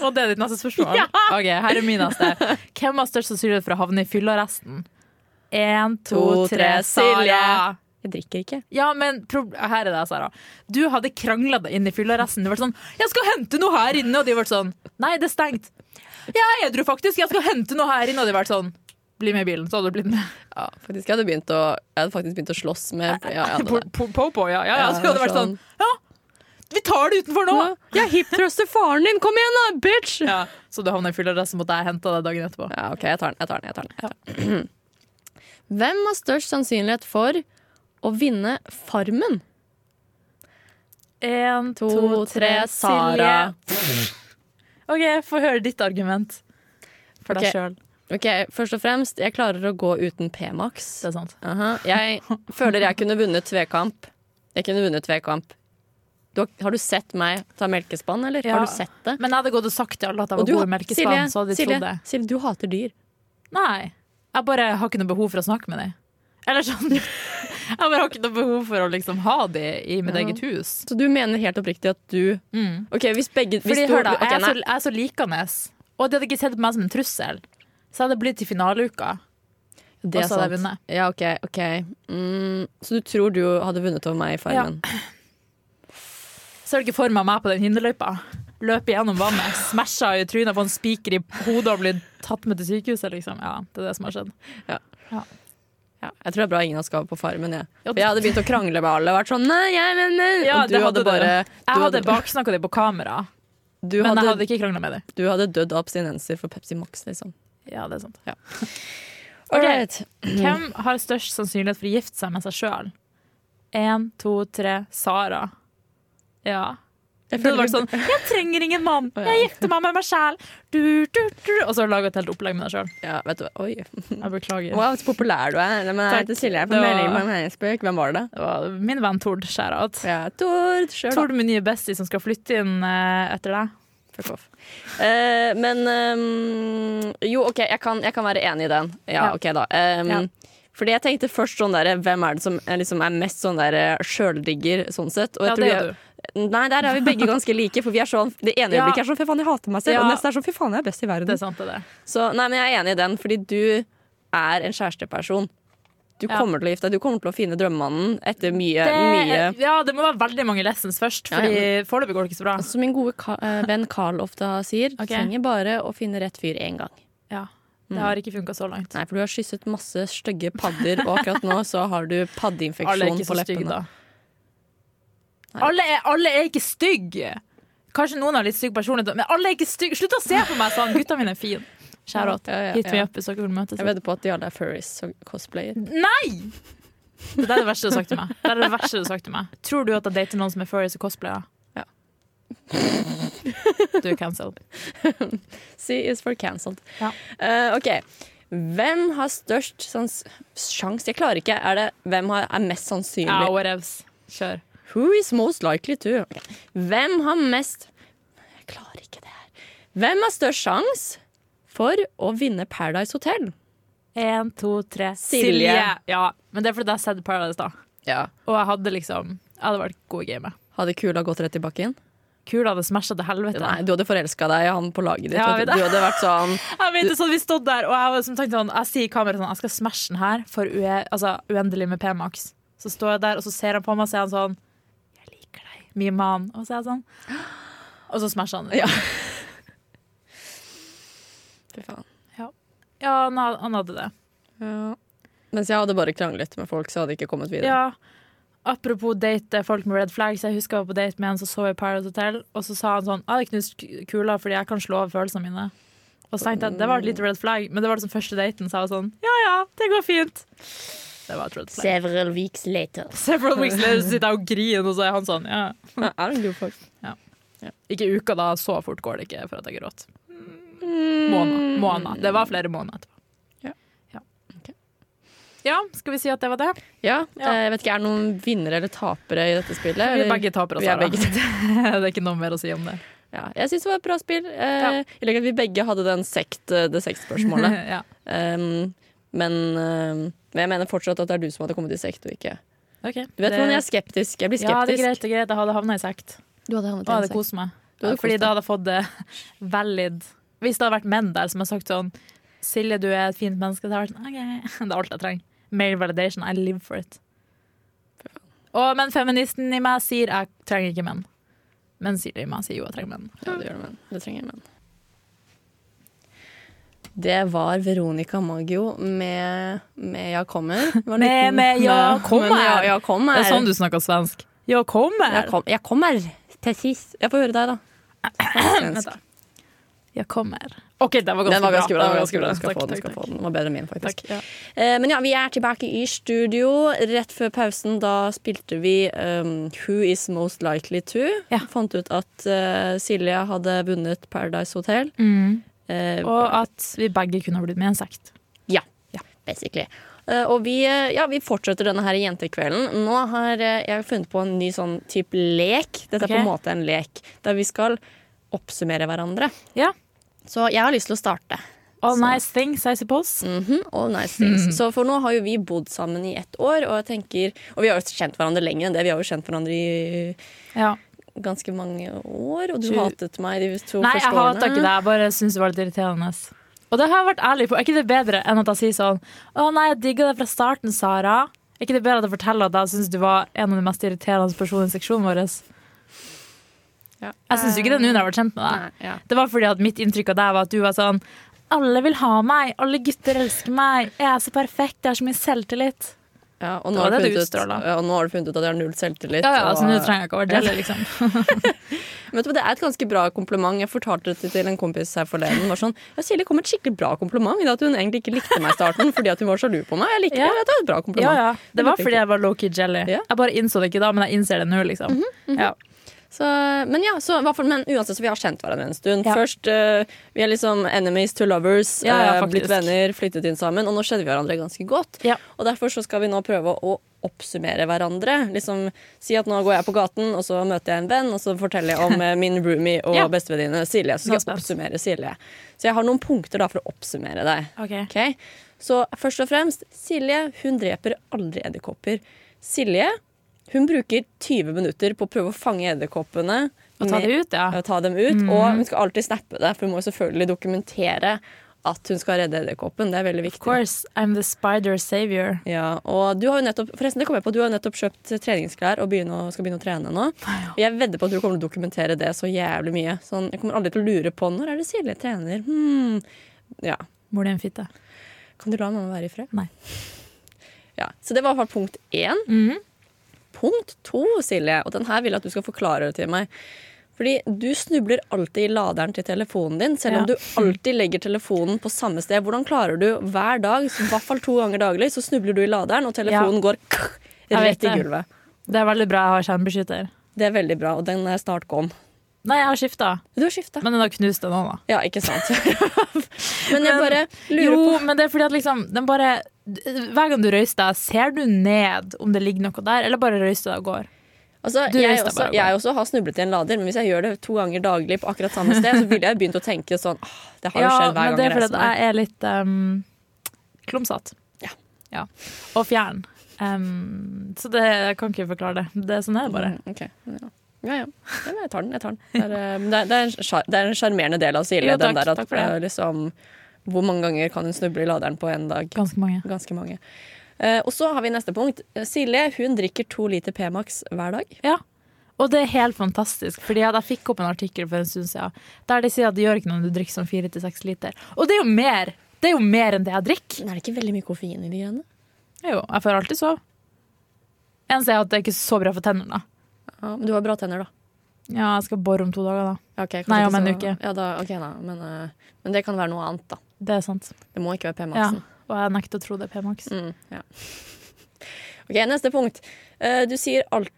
[SPEAKER 4] Og det er ditt neste spørsmål? Ok, her er min neste. Hvem har størst sannsynlighet for å havne i fylla resten? Én, to,
[SPEAKER 1] To,
[SPEAKER 4] tre,
[SPEAKER 1] tre,
[SPEAKER 4] Silje.
[SPEAKER 1] Silje. Jeg drikker ikke.
[SPEAKER 4] Ja, men prob- her er det, Sara. Du hadde krangla deg inn i fylla resten. Du var sånn 'Jeg skal hente noe her inne', og de var sånn 'Nei, det er stengt'. 'Jeg er edru, faktisk. Jeg skal hente noe her inne', og de var sånn 'Bli med i bilen', så hadde du blitt med.
[SPEAKER 1] Ja, faktisk, jeg hadde, begynt å, jeg hadde faktisk begynt å slåss med ja, jeg hadde det.
[SPEAKER 4] Po- po- Popo, ja. ja, ja. Så
[SPEAKER 1] Ja,
[SPEAKER 4] hadde det vært sånn Ja, vi tar det utenfor nå!
[SPEAKER 1] Jeg hiptruster faren din! Kom igjen, da, bitch!
[SPEAKER 4] Ja, Så du havna i fylla der, så måtte jeg hente deg dagen etterpå.
[SPEAKER 1] Ja, ok, jeg tar den. Jeg tar den, jeg tar den, jeg tar den. Hvem har størst sannsynlighet for å vinne Farmen?
[SPEAKER 4] Én,
[SPEAKER 1] To, tre, Sara.
[SPEAKER 4] OK, få høre ditt argument for
[SPEAKER 1] Ok.
[SPEAKER 4] deg sjøl.
[SPEAKER 1] Ok, Først og fremst, jeg klarer å gå uten P-Max.
[SPEAKER 4] Det er sant.
[SPEAKER 1] Aha. Jeg føler jeg kunne vunnet tvekamp. Jeg kunne vunnet tvekamp. Du, har- har du sett meg ta melkespann, eller?
[SPEAKER 4] Ja.
[SPEAKER 1] Har du sett det?
[SPEAKER 4] Men jeg hadde gått og sagt til alle at jeg
[SPEAKER 1] Og
[SPEAKER 4] var
[SPEAKER 1] du
[SPEAKER 4] god i
[SPEAKER 1] har-
[SPEAKER 4] melkespann, så hadde de
[SPEAKER 1] Silje,
[SPEAKER 4] trodd det.
[SPEAKER 1] Silje, du hater dyr.
[SPEAKER 4] Nei. Jeg bare har ikke noe behov for å snakke med dem. Eller sånn Jeg bare har ikke noe behov for å liksom ha dem i mitt eget hus.
[SPEAKER 1] Så du mener helt oppriktig at du
[SPEAKER 4] Mm.
[SPEAKER 1] Ok, hvis begge hvis
[SPEAKER 4] Fordi,
[SPEAKER 1] du,
[SPEAKER 4] hør da,
[SPEAKER 1] ok,
[SPEAKER 4] jeg, er
[SPEAKER 1] nei.
[SPEAKER 4] så, jeg er så likende, og de hadde ikke sett på meg som en trussel. Så jeg hadde blitt til finaleuka.
[SPEAKER 1] Det er
[SPEAKER 4] Og så hadde jeg
[SPEAKER 1] sant.
[SPEAKER 4] vunnet.
[SPEAKER 1] Ja, ok, ok mm, Så du tror du hadde vunnet over meg i Farmen?
[SPEAKER 4] Ser du ikke for meg meg på den hinderløypa? Løpe gjennom vannet, smasha i trynet, få en spiker i hodet og bli tatt med til sykehuset, liksom. Ja, det er det som har skjedd.
[SPEAKER 1] Ja. Jeg tror det er bra ingen av oss skal på Farmen. Jeg.
[SPEAKER 4] Ja,
[SPEAKER 1] For jeg hadde begynt å krangle med alle. Vært sånn, nei, jeg, men, nei.
[SPEAKER 4] Ja,
[SPEAKER 1] Og du hadde,
[SPEAKER 4] det hadde du.
[SPEAKER 1] bare du
[SPEAKER 4] Jeg hadde baksnakka dem på kamera,
[SPEAKER 1] du
[SPEAKER 4] men
[SPEAKER 1] hadde,
[SPEAKER 4] jeg hadde ikke krangla med dem.
[SPEAKER 1] du hadde dødd av abstinenser for Pepsi Max, liksom.
[SPEAKER 4] Ja, det er sant.
[SPEAKER 1] Alright.
[SPEAKER 4] Hvem har størst sannsynlighet for å gifte seg med seg sjøl? Én, to, tre, Sara. Ja.
[SPEAKER 1] Jeg
[SPEAKER 4] Du hadde
[SPEAKER 1] føler
[SPEAKER 4] vært sånn 'Jeg trenger ingen mann, jeg gifter meg med meg sjæl'. Du, du, du. Og så laga et helt opplegg med deg sjøl.
[SPEAKER 1] ja, vet du hva. Oi.
[SPEAKER 4] Jeg beklager.
[SPEAKER 1] Wow, så populær du er. Nei, Men jeg
[SPEAKER 4] Takk.
[SPEAKER 1] heter Silje. Jeg
[SPEAKER 4] Det
[SPEAKER 1] får
[SPEAKER 4] var-
[SPEAKER 1] melding på en meningsspøk. Hvem var det?
[SPEAKER 4] Det var min venn Tord Skjærat.
[SPEAKER 1] Ja, Tord. Sjøl, da.
[SPEAKER 4] Tord min nye bestie som skal flytte inn eh, etter deg.
[SPEAKER 1] Fuck off. Eh, men ehm, Jo, OK, jeg kan, jeg kan være enig i den. Ja,
[SPEAKER 4] Ja.
[SPEAKER 1] OK, da. Ehm,
[SPEAKER 4] Ja.
[SPEAKER 1] Fordi jeg tenkte først sånn derre Hvem er det som er, liksom, er mest sånn derre eh, sjøldigger, sånn sett? Og jeg
[SPEAKER 4] Ja,
[SPEAKER 1] tror
[SPEAKER 4] det
[SPEAKER 1] jeg,
[SPEAKER 4] gjør du.
[SPEAKER 1] Nei, der er vi begge ganske like, for vi er sånn Det ene
[SPEAKER 4] Ja.
[SPEAKER 1] øyeblikket er sånn 'fy faen, jeg hater meg selv', og
[SPEAKER 4] Ja.
[SPEAKER 1] det neste er sånn 'fy faen, jeg er best i
[SPEAKER 4] Det
[SPEAKER 1] verden'.
[SPEAKER 4] er sant, det der.
[SPEAKER 1] Så nei, men jeg er enig i den, fordi du er en kjæresteperson. Du
[SPEAKER 4] Ja.
[SPEAKER 1] kommer til å gifte deg, du kommer til å finne drømmemannen etter mye, mye
[SPEAKER 4] Det, ja, det må være veldig mange lessons først,
[SPEAKER 1] Ja, Altså, ja.
[SPEAKER 4] Fordi foreløpig går det ikke så bra.
[SPEAKER 1] Som min gode ka eh, venn Carl ofte sier,
[SPEAKER 4] Ok.
[SPEAKER 1] trenger bare å finne rett fyr én gang.
[SPEAKER 4] Ja,
[SPEAKER 1] mm.
[SPEAKER 4] det har ikke funka så langt.
[SPEAKER 1] Nei, for du har kysset masse stygge padder, og akkurat nå så har du
[SPEAKER 4] Alle er
[SPEAKER 1] paddeinfeksjon
[SPEAKER 4] ikke
[SPEAKER 1] på
[SPEAKER 4] så stygge,
[SPEAKER 1] leppene.
[SPEAKER 4] da. Alle er, alle er ikke stygge! Kanskje noen har litt stygg personlighet, men alle er ikke stygge! Slutt å se på meg sånn! Gutta mine er fine. Shoutout.
[SPEAKER 1] Ja, ja,
[SPEAKER 4] Hit me
[SPEAKER 1] ja.
[SPEAKER 4] up hvis dere vil møtes.
[SPEAKER 1] Jeg vedder på at de alle er furries og cosplayer.
[SPEAKER 4] Nei! Det der er det verste du har sagt til meg. Det er det verste du har sagt til meg. Tror du at jeg dater noen som er furries og cosplayer?
[SPEAKER 1] Ja.
[SPEAKER 4] Du er cancelled.
[SPEAKER 1] C is for cancelled.
[SPEAKER 4] Ja.
[SPEAKER 1] Eh, ok. Hvem har størst sans sjans Jeg klarer ikke. Er det hvem har, er mest sannsynlig?
[SPEAKER 4] Ja, whatevs. Kjør.
[SPEAKER 1] Who is most likely to? Ok. Hvem har mest Jeg klarer ikke det her. Hvem har størst sjanse for å vinne Paradise Hotel?
[SPEAKER 4] Én, to, tre.
[SPEAKER 1] Silje.
[SPEAKER 4] Ja, men det er fordi jeg har sett Paradise, da.
[SPEAKER 1] Ja.
[SPEAKER 4] Og jeg hadde liksom Jeg hadde vært god i gamet.
[SPEAKER 1] Hadde kula gått rett i bakken?
[SPEAKER 4] Kula hadde smasha til helvete.
[SPEAKER 1] Nei, du hadde forelska deg i han på laget ditt.
[SPEAKER 4] Ja,
[SPEAKER 1] vet du. du
[SPEAKER 4] jeg vet
[SPEAKER 1] hadde vært sånn
[SPEAKER 4] Jeg vet, sånn, vi stod der, og jeg, var som tenkte sånn, jeg sier i kameraet sånn Jeg skal smashe den her for ue, altså, uendelig med P-Max. Så står jeg der, og så ser han på meg og sier han sånn Jeg liker deg, min mann. Og så er jeg sånn Og så smasher han. Ja,
[SPEAKER 1] Fy faen.
[SPEAKER 4] han, had- han hadde det.
[SPEAKER 1] Ja. Mens jeg hadde bare kranglet med folk, så hadde jeg ikke kommet videre.
[SPEAKER 4] Ja, Apropos date folk med red flags. Jeg husker jeg var på date med en som sov i Paradise Hotel, og så sa han sånn Jeg hadde knust k- kula fordi jeg kan slå av følelsene mine. Og så tenkte jeg det var et lite red flag, men det var liksom første daten, så jeg var sånn Ja ja, det går fint. Det var et red flag.
[SPEAKER 1] Several weeks later.
[SPEAKER 4] Several weeks later sitter jeg og griner, og så er han sånn ja.
[SPEAKER 1] Ja, er det en god folk?
[SPEAKER 4] Ikke uka, da. Så fort går det ikke for at jeg gråter.
[SPEAKER 1] Mm.
[SPEAKER 4] Måneder. måneder. Det var flere måneder etterpå.
[SPEAKER 1] Ja.
[SPEAKER 4] Ja.
[SPEAKER 1] Ok.
[SPEAKER 4] ja, skal vi si at det var det?
[SPEAKER 1] Ja,
[SPEAKER 4] Ja.
[SPEAKER 1] eh, Jeg vet ikke, Er det noen vinnere eller tapere i dette spillet?
[SPEAKER 4] Vi
[SPEAKER 1] eller?
[SPEAKER 4] er begge tapere,
[SPEAKER 1] Vi er
[SPEAKER 4] Sara.
[SPEAKER 1] begge
[SPEAKER 4] det er ikke noe mer å si om det.
[SPEAKER 1] Ja, jeg syns det var et bra spill. Eh,
[SPEAKER 4] Ja.
[SPEAKER 1] I tillegg at vi begge hadde den sekt, eh, det sektspørsmålet.
[SPEAKER 4] ja.
[SPEAKER 1] um, men, eh, men jeg mener fortsatt at det er du som hadde kommet i sekt, og ikke
[SPEAKER 4] Ok.
[SPEAKER 1] Du vet
[SPEAKER 4] Det-
[SPEAKER 1] hvordan jeg er skeptisk. Jeg blir skeptisk.
[SPEAKER 4] Ja, det er greit, det er greit. Jeg hadde havna i sekt.
[SPEAKER 1] Du hadde havnet i
[SPEAKER 4] Og hadde
[SPEAKER 1] en sekt.
[SPEAKER 4] kost meg.
[SPEAKER 1] Du hadde kost
[SPEAKER 4] Fordi
[SPEAKER 1] deg.
[SPEAKER 4] da hadde jeg fått det valid Hvis det hadde vært menn der som hadde sagt sånn Silje, du er et fint menneske. Det, vært sånn, «Ok». det er alt jeg trenger. Male validation. I live for it. Og, men feministen i meg sier jeg trenger ikke menn. Men Silje i meg sier jo jeg trenger menn.
[SPEAKER 1] Ja, det gjør det, men det trenger jeg, men. Det var Veronica Maggio med, med 'Jeg kommer'. Det var en
[SPEAKER 4] Med-
[SPEAKER 1] liten-
[SPEAKER 4] med «Jeg kommer».
[SPEAKER 1] Men «Jeg- jeg kommer.
[SPEAKER 4] Det er sånn du snakker svensk. Ja, kommer!
[SPEAKER 1] Jeg, kom, jeg kommer. Precis. Jeg får høre deg, da. Svensk.
[SPEAKER 4] Vent da. Jeg kommer. OK, det var ganske,
[SPEAKER 1] Den var ganske bra.
[SPEAKER 4] Det
[SPEAKER 1] Den,
[SPEAKER 4] var
[SPEAKER 1] var ganske bra. Du skal
[SPEAKER 4] Takk,
[SPEAKER 1] få den,
[SPEAKER 4] takk,
[SPEAKER 1] du skal
[SPEAKER 4] takk.
[SPEAKER 1] få den. den var bedre enn min, faktisk.
[SPEAKER 4] Takk, ja.
[SPEAKER 1] Eh, Men ja, vi er tilbake i studio. Rett før pausen da spilte vi um, Who is most likely to?
[SPEAKER 4] Ja.
[SPEAKER 1] Fant ut at eh, Silje hadde vunnet Paradise Hotel.
[SPEAKER 4] Mm.
[SPEAKER 1] Eh,
[SPEAKER 4] Og at vi begge kunne ha blitt med i en sekt.
[SPEAKER 1] ja, basically. Eh, og vi, eh, ja, vi fortsetter denne her jentekvelden. Nå har eh, jeg funnet på en ny sånn type lek. Dette er på en
[SPEAKER 4] Ok.
[SPEAKER 1] måte en lek der vi skal oppsummere hverandre.
[SPEAKER 4] Ja.
[SPEAKER 1] Så jeg har lyst til å starte.
[SPEAKER 4] All nice things, I suppose.
[SPEAKER 1] Mhm, all nice
[SPEAKER 4] Hmm.
[SPEAKER 1] things. Så for nå har jo vi bodd sammen i ett år, og jeg tenker Og vi har jo kjent hverandre lenger enn det. Vi har jo kjent hverandre i
[SPEAKER 4] Ja.
[SPEAKER 1] ganske mange år, og du
[SPEAKER 4] Tjue-
[SPEAKER 1] hatet meg de to
[SPEAKER 4] Nei,
[SPEAKER 1] første
[SPEAKER 4] jeg
[SPEAKER 1] årene.
[SPEAKER 4] hater ikke det. Jeg bare syns det var litt irriterende. Og det har jeg vært ærlig på. Er ikke det bedre enn at jeg sier sånn Å nei, jeg digga det fra starten, Sara. Er ikke det bedre at jeg forteller at jeg syns du var en av de mest irriterende personene i seksjonen vår?
[SPEAKER 1] Ja.
[SPEAKER 4] Jeg syns jo ikke det nå når jeg har vært kjent med deg.
[SPEAKER 1] Nei, ja.
[SPEAKER 4] Det var fordi at mitt inntrykk av deg var at du var sånn Alle vil ha meg. Alle gutter elsker meg. Jeg er så perfekt. Jeg har så mye selvtillit.
[SPEAKER 1] Ja, og,
[SPEAKER 4] Det
[SPEAKER 1] nå har
[SPEAKER 4] var
[SPEAKER 1] du
[SPEAKER 4] det du
[SPEAKER 1] funnet ut,
[SPEAKER 4] utstråla.
[SPEAKER 1] ja, og nå har du funnet ut at jeg har null selvtillit.
[SPEAKER 4] Ja, ja,
[SPEAKER 1] og-
[SPEAKER 4] altså nå trenger jeg ikke å være delt, liksom.
[SPEAKER 1] Men vet du hva, det er et ganske bra kompliment. Jeg fortalte det til en kompis her forleden. Hun Var sånn, ja, Silje kom med et skikkelig bra kompliment. i det At hun egentlig ikke likte meg i starten fordi at hun var sjalu på meg. Jeg liker
[SPEAKER 4] Ja.
[SPEAKER 1] det, det er et bra kompliment.
[SPEAKER 4] Ja, ja. Det var
[SPEAKER 1] likte
[SPEAKER 4] fordi
[SPEAKER 1] jeg
[SPEAKER 4] jeg var low-key jelly.
[SPEAKER 1] Ja.
[SPEAKER 4] Jeg bare innså det ikke da, men jeg innser det nå, liksom. ja.
[SPEAKER 1] Så, men ja, så, i hvert fall- men uansett så vi har kjent hverandre en stund.
[SPEAKER 4] Ja.
[SPEAKER 1] Først eh, vi er liksom enemies to lovers,
[SPEAKER 4] Ja, ja,
[SPEAKER 1] eh,
[SPEAKER 4] faktisk.
[SPEAKER 1] blitt venner, flyttet inn sammen, og nå kjenner vi hverandre ganske godt.
[SPEAKER 4] Ja.
[SPEAKER 1] Og derfor så skal vi nå prøve å oppsummere hverandre. Liksom Si at nå går jeg på gaten, og så møter jeg en venn, og så forteller jeg om eh, min roomie og
[SPEAKER 4] Ja.
[SPEAKER 1] bestevenninne Silje. Så skal
[SPEAKER 4] Nå
[SPEAKER 1] jeg
[SPEAKER 4] spent.
[SPEAKER 1] oppsummere Silje. Så jeg har noen punkter da for å oppsummere deg.
[SPEAKER 4] Ok.
[SPEAKER 1] Ok? Så først og fremst, Silje hun dreper aldri edderkopper. Silje Hun bruker 20 minutter på å prøve å fange edderkoppene.
[SPEAKER 4] Å ta
[SPEAKER 1] med-
[SPEAKER 4] det ut,
[SPEAKER 1] ja,
[SPEAKER 4] ja. Mm.
[SPEAKER 1] ta dem ut. Og hun skal alltid snappe det, for hun må jo selvfølgelig dokumentere at hun skal redde edderkoppen. Det er veldig
[SPEAKER 4] Of
[SPEAKER 1] viktig.
[SPEAKER 4] course, I'm the spider savior.
[SPEAKER 1] Ja, og du har jo nettopp, forresten, det kom jeg på, du har jo nettopp kjøpt treningsklær og begynne å- skal begynne å trene nå. Og jeg vedder på at du kommer til å dokumentere det så jævlig mye. Sånn, jeg kommer aldri til å lure på når er det Silje trener. Hmm. Ja.
[SPEAKER 4] Mor di er en fitte.
[SPEAKER 1] Kan du la mamma være i fred?
[SPEAKER 4] Nei.
[SPEAKER 1] Ja, så det var i hvert fall punkt én.
[SPEAKER 4] Mhm.
[SPEAKER 1] Punkt to, Silje, og den her vil jeg at du skal forklare til meg. Fordi du snubler alltid i laderen til telefonen din, selv om
[SPEAKER 4] Ja.
[SPEAKER 1] du alltid legger telefonen på samme sted. Hvordan klarer du hver dag, så i hvert fall to ganger daglig, så snubler du i laderen, og telefonen går kkk,
[SPEAKER 4] Jeg vet
[SPEAKER 1] rett i
[SPEAKER 4] det.
[SPEAKER 1] gulvet.
[SPEAKER 4] Det er veldig bra jeg har skjermbeskytter.
[SPEAKER 1] Det er veldig bra, og den eh, er snart gone.
[SPEAKER 4] Nei, jeg har skifta,
[SPEAKER 1] Du har skifta.
[SPEAKER 4] men den har knust den òg, da.
[SPEAKER 1] Ja, ikke sant. Men jeg
[SPEAKER 4] Men-
[SPEAKER 1] bare lurer
[SPEAKER 4] Jo,
[SPEAKER 1] på
[SPEAKER 4] men det er fordi at liksom den bare Hver gang du røyser deg, ser du ned om det ligger noe der, eller bare røyser du deg og går?
[SPEAKER 1] Altså,
[SPEAKER 4] Du
[SPEAKER 1] jeg,
[SPEAKER 4] rister
[SPEAKER 1] også,
[SPEAKER 4] bare, bare.
[SPEAKER 1] jeg også har snublet i en lader, men hvis jeg gjør det to ganger daglig på akkurat samme sted, så ville jeg begynt å tenke sånn «Åh, Det har jo
[SPEAKER 4] ja,
[SPEAKER 1] skjedd hver
[SPEAKER 4] men
[SPEAKER 1] gang
[SPEAKER 4] det
[SPEAKER 1] jeg
[SPEAKER 4] er fordi
[SPEAKER 1] reiser
[SPEAKER 4] at
[SPEAKER 1] meg.
[SPEAKER 4] jeg er litt um, klumsete.
[SPEAKER 1] Ja.
[SPEAKER 4] Ja. Og fjern. Um, så det, jeg kan ikke forklare det. Det er sånn er det bare.
[SPEAKER 1] Mm, ok. Ja. Ja, ja. ja. men Jeg tar den. jeg tar den. Det er, eh, men det er, det er en sjar- det er en sjarmerende del av Silje.
[SPEAKER 4] Jo, takk,
[SPEAKER 1] den der at,
[SPEAKER 4] takk for det.
[SPEAKER 1] eh, Liksom, hvor mange ganger kan hun snuble i laderen på en dag?
[SPEAKER 4] Ganske mange.
[SPEAKER 1] Ganske mange. Eh, og så har vi neste punkt. Eh, Silje hun drikker to liter P-Max hver dag.
[SPEAKER 4] Ja. Og det er helt fantastisk, Fordi jeg, jeg fikk opp en artikkel for en stund siden der de sier at det gjør ikke noe om du drikker sånn fire til seks liter. Og det er jo mer! Det er jo mer enn det jeg drikker.
[SPEAKER 1] Men er det ikke veldig mye koffein i de greiene?
[SPEAKER 4] Jo, jeg får alltid sove. Eneste er at det er ikke så bra for tennene.
[SPEAKER 1] Ja, men du har bra tenner, da.
[SPEAKER 4] Ja, jeg skal bore om to dager, da.
[SPEAKER 1] Ja, ok, kanskje
[SPEAKER 4] Nei,
[SPEAKER 1] ikke
[SPEAKER 4] om en
[SPEAKER 1] så-
[SPEAKER 4] uke.
[SPEAKER 1] Ja, da, ok, da. Men, eh, men det kan være noe annet, da.
[SPEAKER 4] Det er sant.
[SPEAKER 1] Det må ikke være
[SPEAKER 4] Ja.
[SPEAKER 1] P-Maxen.
[SPEAKER 4] Og jeg nekter å tro det er P-Max.
[SPEAKER 1] Mm, ja. Ok, neste punkt. Eh, Du sier alt...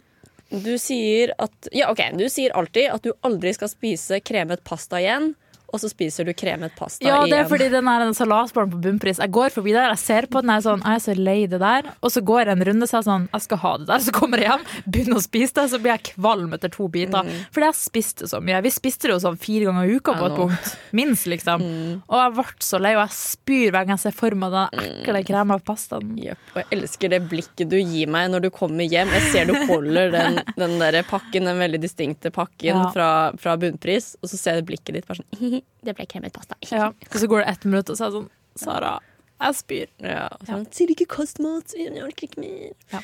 [SPEAKER 1] Du sier at Ja, OK. Du sier alltid at du aldri skal spise kremet pasta igjen, og så spiser du kremet pasta
[SPEAKER 4] Ja, det er
[SPEAKER 1] igjen.
[SPEAKER 4] fordi den er en salatbarn på bunnpris. Jeg går forbi der, jeg ser på den, jeg er sånn, jeg er så lei det der. Og så går jeg en runde, så er jeg sånn, jeg skal ha det der. Så kommer jeg hjem, begynner å spise det, så blir jeg kvalm etter to biter. Fordi jeg spiste så mye. Vi spiste det jo sånn fire ganger i uka på
[SPEAKER 1] Mm. Ja, nå.
[SPEAKER 4] et
[SPEAKER 1] Mm.
[SPEAKER 4] punkt. Minst, liksom. Og jeg ble så lei, og jeg spyr hver gang jeg ser for meg den
[SPEAKER 1] Mm.
[SPEAKER 4] ekle krema av pastaen.
[SPEAKER 1] Jep, og jeg elsker det blikket du gir meg når du kommer hjem. Jeg ser du holder den, den der pakken, den veldig distinkte pakken
[SPEAKER 4] Ja.
[SPEAKER 1] fra, fra bunnpris, og så ser jeg blikket ditt bare sånn «Hihi, Det ble kremet pasta.
[SPEAKER 4] Ja. Og så går det ett minutt, og så er jeg sånn, Sara, jeg spyr.
[SPEAKER 1] Ja, og sånn, Sier ikke kast mat, sier jeg orker ikke mer.
[SPEAKER 4] Ja.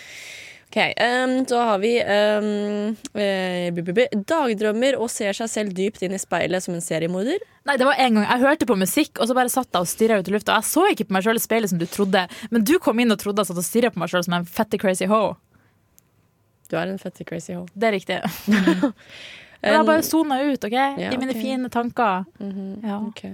[SPEAKER 1] Ok, ehm, så har vi ehm, eh, bu- bu- bu- dagdrømmer og ser seg selv dypt inn i speilet som en seriemorder.
[SPEAKER 4] Nei, det var en gang Jeg hørte på musikk, og så bare satt jeg og stirra ut i lufta. Jeg så ikke på meg sjøl i speilet som du trodde, men du kom inn og trodde jeg satt og stirra på meg sjøl som en fette crazy ho.
[SPEAKER 1] Du er en fette crazy ho.
[SPEAKER 4] Det er riktig. Men jeg bare sona ut, OK? I mine
[SPEAKER 1] ok. Mhm.
[SPEAKER 4] fine tanker. ja.
[SPEAKER 1] Ok.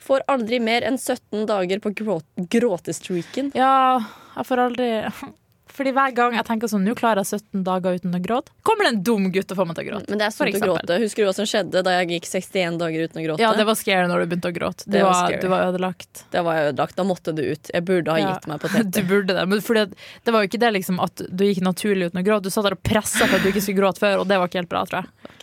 [SPEAKER 1] Får aldri mer enn 17 dager på grå gråtestreaken.
[SPEAKER 4] ja, jeg får aldri Fordi hver gang jeg tenker sånn, nå klarer jeg 17 dager uten å gråte, kommer det en dum gutt og får meg til å gråte.
[SPEAKER 1] Men det er
[SPEAKER 4] For
[SPEAKER 1] sunt å
[SPEAKER 4] eksempel.
[SPEAKER 1] gråte. Husker du hva som skjedde da jeg gikk 61 dager uten å gråte?
[SPEAKER 4] Ja, det var scary når du begynte å gråte. Du,
[SPEAKER 1] Det var
[SPEAKER 4] var,
[SPEAKER 1] scary.
[SPEAKER 4] du var ødelagt.
[SPEAKER 1] Da var jeg ødelagt. Da måtte du ut. Jeg burde ha
[SPEAKER 4] Ja.
[SPEAKER 1] gitt meg på teppet.
[SPEAKER 4] Du burde det. Men fordi at, det var jo ikke det liksom, at du gikk naturlig uten å gråte. Du satt der og pressa for at du ikke skulle gråte før, og det var ikke helt bra, tror jeg.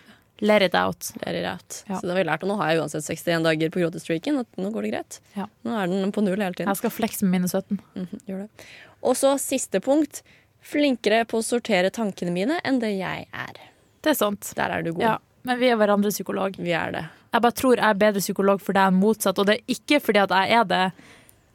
[SPEAKER 4] Let it out.
[SPEAKER 1] Det er rett.
[SPEAKER 4] Ja.
[SPEAKER 1] Så det har vi lært, og nå har jeg uansett 61 dager på gråtestreaken. At nå går det greit.
[SPEAKER 4] Ja.
[SPEAKER 1] Nå er den på null hele tiden.
[SPEAKER 4] Jeg skal flekse med mine 17.
[SPEAKER 1] Gjør det. Og så siste punkt. Flinkere på å sortere tankene mine enn det jeg er.
[SPEAKER 4] Det er sant.
[SPEAKER 1] Der er du god.
[SPEAKER 4] Ja. Men vi er hverandres psykolog.
[SPEAKER 1] Vi er det.
[SPEAKER 4] Jeg bare tror jeg er bedre psykolog for deg enn motsatt, og det er ikke fordi at jeg er det.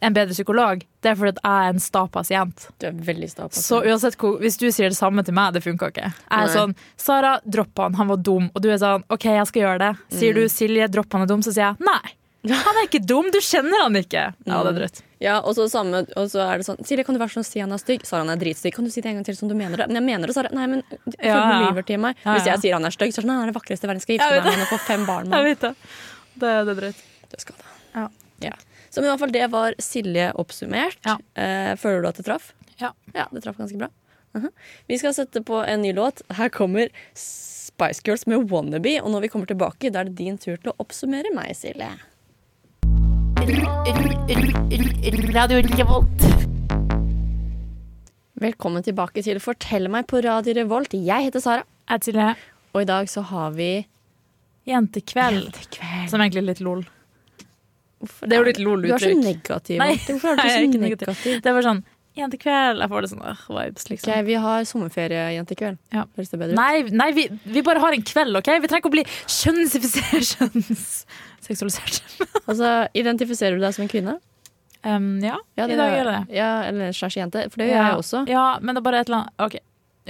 [SPEAKER 4] En bedre psykolog. Det er fordi at jeg er en sta pasient.
[SPEAKER 1] Du er veldig sta. på
[SPEAKER 4] Så
[SPEAKER 1] det.
[SPEAKER 4] uansett hvor, Hvis du sier det samme til meg, det funka ikke. Jeg er
[SPEAKER 1] Nei.
[SPEAKER 4] sånn Sara, dropp han, han var dum. Og du er sånn OK, jeg skal gjøre det. Sier
[SPEAKER 1] Mm.
[SPEAKER 4] du Silje, dropp han er dum, så sier jeg nei. Han er ikke dum, du kjenner han ikke.
[SPEAKER 1] Mm.
[SPEAKER 4] Ja, det er drøyt.
[SPEAKER 1] Ja, og så samme, og så er det sånn Silje, kan du være sånn å si han er stygg? Sara, han er dritstygg. Kan du si det en gang til som du mener det? Men jeg mener det, Sara. Nei, men du føler
[SPEAKER 4] Ja,
[SPEAKER 1] du
[SPEAKER 4] ja.
[SPEAKER 1] lyver til meg.
[SPEAKER 4] Ja,
[SPEAKER 1] Hvis
[SPEAKER 4] ja.
[SPEAKER 1] jeg sier han er stygg, så er det sånn han er det vakreste i verden. Skal gifte
[SPEAKER 4] Jeg
[SPEAKER 1] meg
[SPEAKER 4] vet
[SPEAKER 1] med han og få fem barn.
[SPEAKER 4] Jeg
[SPEAKER 1] med han.
[SPEAKER 4] vet det. Det, det er drøyt.
[SPEAKER 1] Det skal det.
[SPEAKER 4] Ja.
[SPEAKER 1] Ja. Så men i hvert fall det var Silje oppsummert.
[SPEAKER 4] Ja.
[SPEAKER 1] Eh, føler du at det traff?
[SPEAKER 4] Ja.
[SPEAKER 1] Ja, det traff ganske bra. Mhm. Vi skal sette på en ny låt. Her kommer Spice Girls med 'Wannabe'. Og når vi kommer tilbake, da er det din tur til å oppsummere meg, Silje. Velkommen tilbake til Fortell meg på Radio Revolt. Jeg heter Sara,
[SPEAKER 4] Jeg til det.
[SPEAKER 1] og i dag så har vi
[SPEAKER 4] Jentekveld,
[SPEAKER 1] Jentekveld.
[SPEAKER 4] som egentlig er litt lol.
[SPEAKER 1] Hvorfor
[SPEAKER 4] Det er jo litt lol
[SPEAKER 1] Du er så
[SPEAKER 4] uttrykk.
[SPEAKER 1] negativ.
[SPEAKER 4] Nei,
[SPEAKER 1] alltid. Hvorfor er
[SPEAKER 4] jeg er
[SPEAKER 1] du
[SPEAKER 4] ikke
[SPEAKER 1] så
[SPEAKER 4] negativ.
[SPEAKER 1] negativ?
[SPEAKER 4] Det var sånn jentekveld. Jeg får det sånn øh, vibes, liksom.
[SPEAKER 1] Ok, vi har sommerferie jentekveld.
[SPEAKER 4] Ja.
[SPEAKER 1] Høres det bedre ut?
[SPEAKER 4] Nei, nei vi, vi bare har en kveld, OK? Vi trenger ikke å bli kjønnifisert kjønns... Seksualisert.
[SPEAKER 1] Altså, identifiserer du deg som en kvinne?
[SPEAKER 4] Um, ja,
[SPEAKER 1] Ja,
[SPEAKER 4] i dag gjør jeg det.
[SPEAKER 1] Ja, eller slash jente. For det gjør
[SPEAKER 4] ja.
[SPEAKER 1] jeg også.
[SPEAKER 4] Ja, men det er bare et eller annet OK.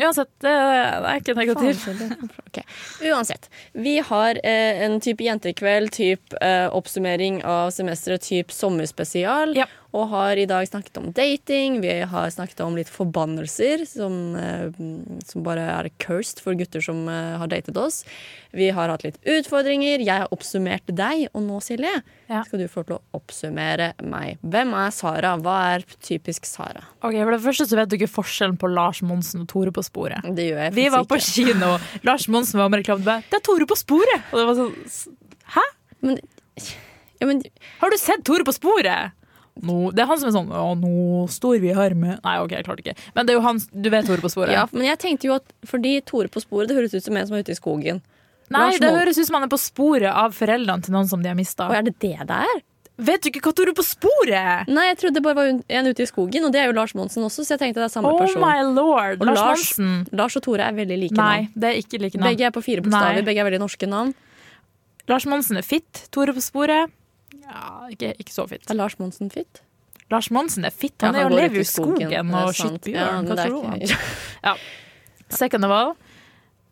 [SPEAKER 4] Uansett, det, det er ikke negativt.
[SPEAKER 1] Ok. Uansett. Vi har eh, en type jentekveld, type eh, oppsummering av semesteret, type sommerspesial.
[SPEAKER 4] Ja.
[SPEAKER 1] Og har i dag snakket om dating, vi har snakket om litt forbannelser, som, eh, som bare er cursed for gutter som eh, har datet oss. Vi har hatt litt utfordringer. Jeg har oppsummert deg, og nå, Silje,
[SPEAKER 4] Ja.
[SPEAKER 1] skal du få lov til å oppsummere meg. Hvem er Sara? Hva er typisk Sara?
[SPEAKER 4] Ok, For det første så vet du ikke forskjellen på Lars Monsen og Tore på sporet.
[SPEAKER 1] Det gjør jeg
[SPEAKER 4] Vi var på
[SPEAKER 1] faktisk ikke.
[SPEAKER 4] kino, Lars Monsen var med reklame. bare, Det er Tore på sporet! Og det var sånn s-
[SPEAKER 1] Men, ja, men
[SPEAKER 4] Har du sett Tore på sporet? Nå- det er han som er sånn Å, nå står vi her med Nei, OK, jeg klarte ikke. Men det er jo han Du vet Tore på sporet?
[SPEAKER 1] Ja, men jeg tenkte jo at fordi Tore på sporet, det høres ut som en som er ute i skogen.
[SPEAKER 4] Nei,
[SPEAKER 1] Lars
[SPEAKER 4] det
[SPEAKER 1] Mon-
[SPEAKER 4] høres ut som han er på sporet av foreldrene til noen som de har mista.
[SPEAKER 1] Og er det det det er?
[SPEAKER 4] Vet du ikke hva Tore på sporet?
[SPEAKER 1] Nei, jeg trodde det bare var un- en ute i skogen, og det er jo Lars Monsen også, så jeg tenkte det er samme
[SPEAKER 4] Oh
[SPEAKER 1] person.
[SPEAKER 4] my lord.
[SPEAKER 1] Og
[SPEAKER 4] Lars,
[SPEAKER 1] Lars-
[SPEAKER 4] Monsen.
[SPEAKER 1] Lars og Tore er veldig like
[SPEAKER 4] Nei,
[SPEAKER 1] navn.
[SPEAKER 4] det er ikke like navn.
[SPEAKER 1] Begge er på fire bokstaver,
[SPEAKER 4] Nei.
[SPEAKER 1] begge er veldig norske navn.
[SPEAKER 4] Lars Monsen er fitt. Tore på sporet Ja, ikke, ikke så fitt.
[SPEAKER 1] Er Lars Monsen fit?
[SPEAKER 4] Lars Monsen er fitt. Han,
[SPEAKER 1] Ja,
[SPEAKER 4] er jo
[SPEAKER 1] går
[SPEAKER 4] lever
[SPEAKER 1] ut
[SPEAKER 4] jo
[SPEAKER 1] i
[SPEAKER 4] i skogen,
[SPEAKER 1] det
[SPEAKER 4] og
[SPEAKER 1] er sant.
[SPEAKER 4] skyter
[SPEAKER 1] Ja,
[SPEAKER 4] bjørn.
[SPEAKER 1] men
[SPEAKER 4] Hva
[SPEAKER 1] det er
[SPEAKER 4] tror du?
[SPEAKER 1] ikke-
[SPEAKER 4] om han? Second of all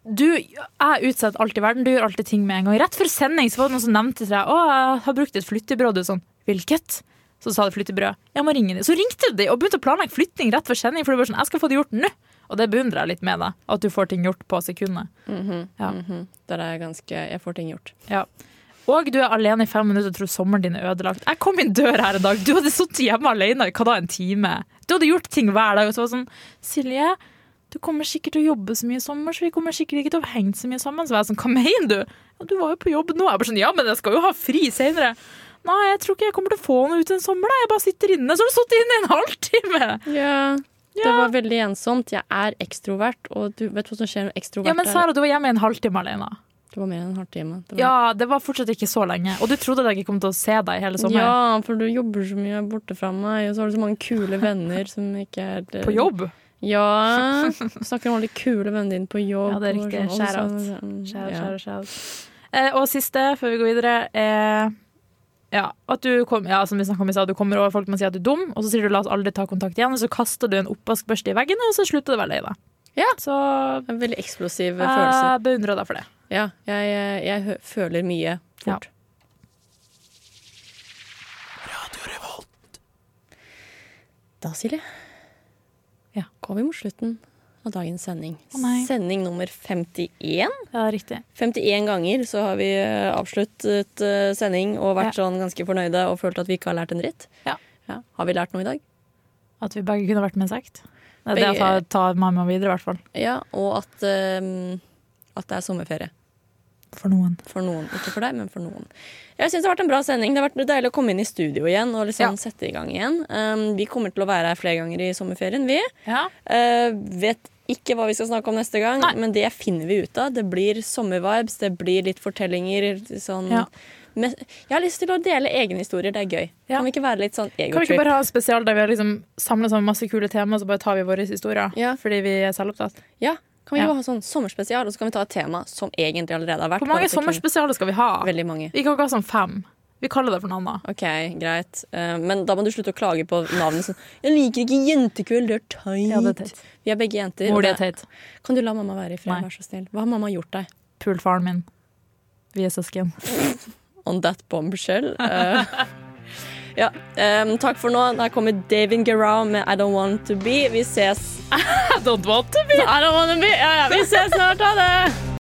[SPEAKER 4] du, jeg utsetter alt i verden. Du gjør alltid ting med en gang. Rett før sending så var det noen som nevnte til deg Å, jeg har brukt et flyttebrød. Du er sånn, hvilket? Så sa det flyttebrød. Jeg må ringe dem. Så ringte de og begynte å planlegge flytting rett før sending. For du var sånn, jeg skal få det gjort nå. Og det beundrer jeg litt med deg. At du får ting gjort på sekundet. Ja.
[SPEAKER 1] Der er jeg ganske Jeg får ting gjort.
[SPEAKER 4] Ja. Og du er alene i fem minutter og tror sommeren din er ødelagt. Jeg kom inn døra her en dag, du hadde sittet hjemme alene i hva da, en time. Du hadde gjort ting hver dag. Og så var det sånn Silje, du kommer sikkert til å jobbe så mye i sommer, så vi kommer sikkert ikke til å henge så mye sammen. Så var jeg sånn, hva mener du? Ja, du var jo på jobb nå. Jeg bare sånn, ja, men jeg skal jo ha fri senere. Nei, jeg tror ikke jeg kommer til å få noe ut en sommer, da. Jeg bare sitter inne. Så har du sittet inne i en halvtime.
[SPEAKER 1] Ja. Det var veldig ensomt. Jeg er ekstrovert, og du vet hva som skjer når ekstrovert
[SPEAKER 4] Ja, men Sara, du var hjemme i en halvtime alene.
[SPEAKER 1] er Det var mer enn en halvtime. Det var-
[SPEAKER 4] Ja, det var fortsatt ikke så lenge. Og du trodde at jeg ikke kom til å se deg hele sommeren.
[SPEAKER 1] Ja, for du jobber så mye borte fra meg, og så har du så mange kule venner som ikke er eh,
[SPEAKER 4] På jobb.
[SPEAKER 1] Ja. Du snakker om alle de kule vennene dine på jobb.
[SPEAKER 4] Ja, det
[SPEAKER 1] og
[SPEAKER 4] er
[SPEAKER 1] sånn,
[SPEAKER 4] riktig.
[SPEAKER 1] og
[SPEAKER 4] Shout out.
[SPEAKER 1] så- mm,
[SPEAKER 4] Skjære,
[SPEAKER 1] ja.
[SPEAKER 4] skjære, skjære. Eh, og siste, før vi går videre, er ja, at du kom, ja, som vi snakket om i stad, du kommer over folk man sier at du er dum, og så sier du 'la oss aldri ta kontakt igjen', og så kaster du en oppvaskbørste i veggen, og så slutter det vel deg, da.
[SPEAKER 1] Ja.
[SPEAKER 4] Så Ah.
[SPEAKER 1] Det er Veldig eksplosive følelser.
[SPEAKER 4] jeg beundrer deg for det.
[SPEAKER 1] Ja, jeg, jeg, jeg hø- føler mye fort. Da, Silje,
[SPEAKER 4] Ja.
[SPEAKER 1] går vi mot slutten av dagens sending.
[SPEAKER 4] Å, nei.
[SPEAKER 1] sending nummer 51.
[SPEAKER 4] Ja, riktig.
[SPEAKER 1] 51 ganger så har vi eh, avsluttet eh, sending og vært
[SPEAKER 4] Ja.
[SPEAKER 1] sånn ganske fornøyde og følt at vi ikke har lært en dritt.
[SPEAKER 4] Ja.
[SPEAKER 1] Har vi lært noe i dag?
[SPEAKER 4] At vi begge kunne vært med i en sekt. Det er det
[SPEAKER 1] Begge-
[SPEAKER 4] jeg tar, tar med meg videre, i hvert fall.
[SPEAKER 1] Ja, og at, eh, at det er sommerferie.
[SPEAKER 4] For noen.
[SPEAKER 1] For noen. Ikke for deg, men for noen. Jeg synes Det har vært en bra sending. Det har vært deilig å komme inn i studio igjen og liksom
[SPEAKER 4] Ja.
[SPEAKER 1] sette i gang igjen. Um, vi kommer til å være her flere ganger i sommerferien, vi.
[SPEAKER 4] Ja.
[SPEAKER 1] Eh, vet ikke hva vi skal snakke om neste gang,
[SPEAKER 4] Nei.
[SPEAKER 1] men det finner vi ut av. Det blir sommervibes, det blir litt fortellinger. Sånn.
[SPEAKER 4] Ja.
[SPEAKER 1] Men jeg har lyst til å dele egne historier. Det er gøy.
[SPEAKER 4] Ja.
[SPEAKER 1] Kan vi ikke være litt sånn
[SPEAKER 4] Kan vi ikke
[SPEAKER 1] egotrip?
[SPEAKER 4] bare ha en spesial der vi har liksom samla sammen masse kule tema, og så bare tar vi våre historier?
[SPEAKER 1] Ja.
[SPEAKER 4] Fordi vi er selvopptatt.
[SPEAKER 1] Ja, kan vi
[SPEAKER 4] Ja.
[SPEAKER 1] jo ha sånn sommerspesial, og så kan vi ta et tema som egentlig allerede har vært.
[SPEAKER 4] Hvor mange
[SPEAKER 1] bare at det kunne-
[SPEAKER 4] sommerspesialer skal vi ha?
[SPEAKER 1] Veldig mange.
[SPEAKER 4] Vi kan ikke ha sånn fem. Vi kaller det for noe annet.
[SPEAKER 1] Ok, greit. Eh, men da må du slutte å klage på navnet sånn. Jeg liker ikke jentekveld, det er teit.
[SPEAKER 4] Ja, det er teit.
[SPEAKER 1] Vi er begge jenter.
[SPEAKER 4] Mor
[SPEAKER 1] og
[SPEAKER 4] di er
[SPEAKER 1] det-
[SPEAKER 4] teit.
[SPEAKER 1] Kan du la mamma være i fred,
[SPEAKER 4] Nei.
[SPEAKER 1] vær så snill? Hva har mamma gjort deg?
[SPEAKER 4] Pul faren min. Vi er søsken.
[SPEAKER 1] On that bombshell. Eh, ja. eh, takk for nå. Der kommer Davin Guerrao med I Don't Want To Be. Vi ses.
[SPEAKER 4] I don't want to be
[SPEAKER 1] I don't want to be. Ja, ja, vi ses snart. Ha det!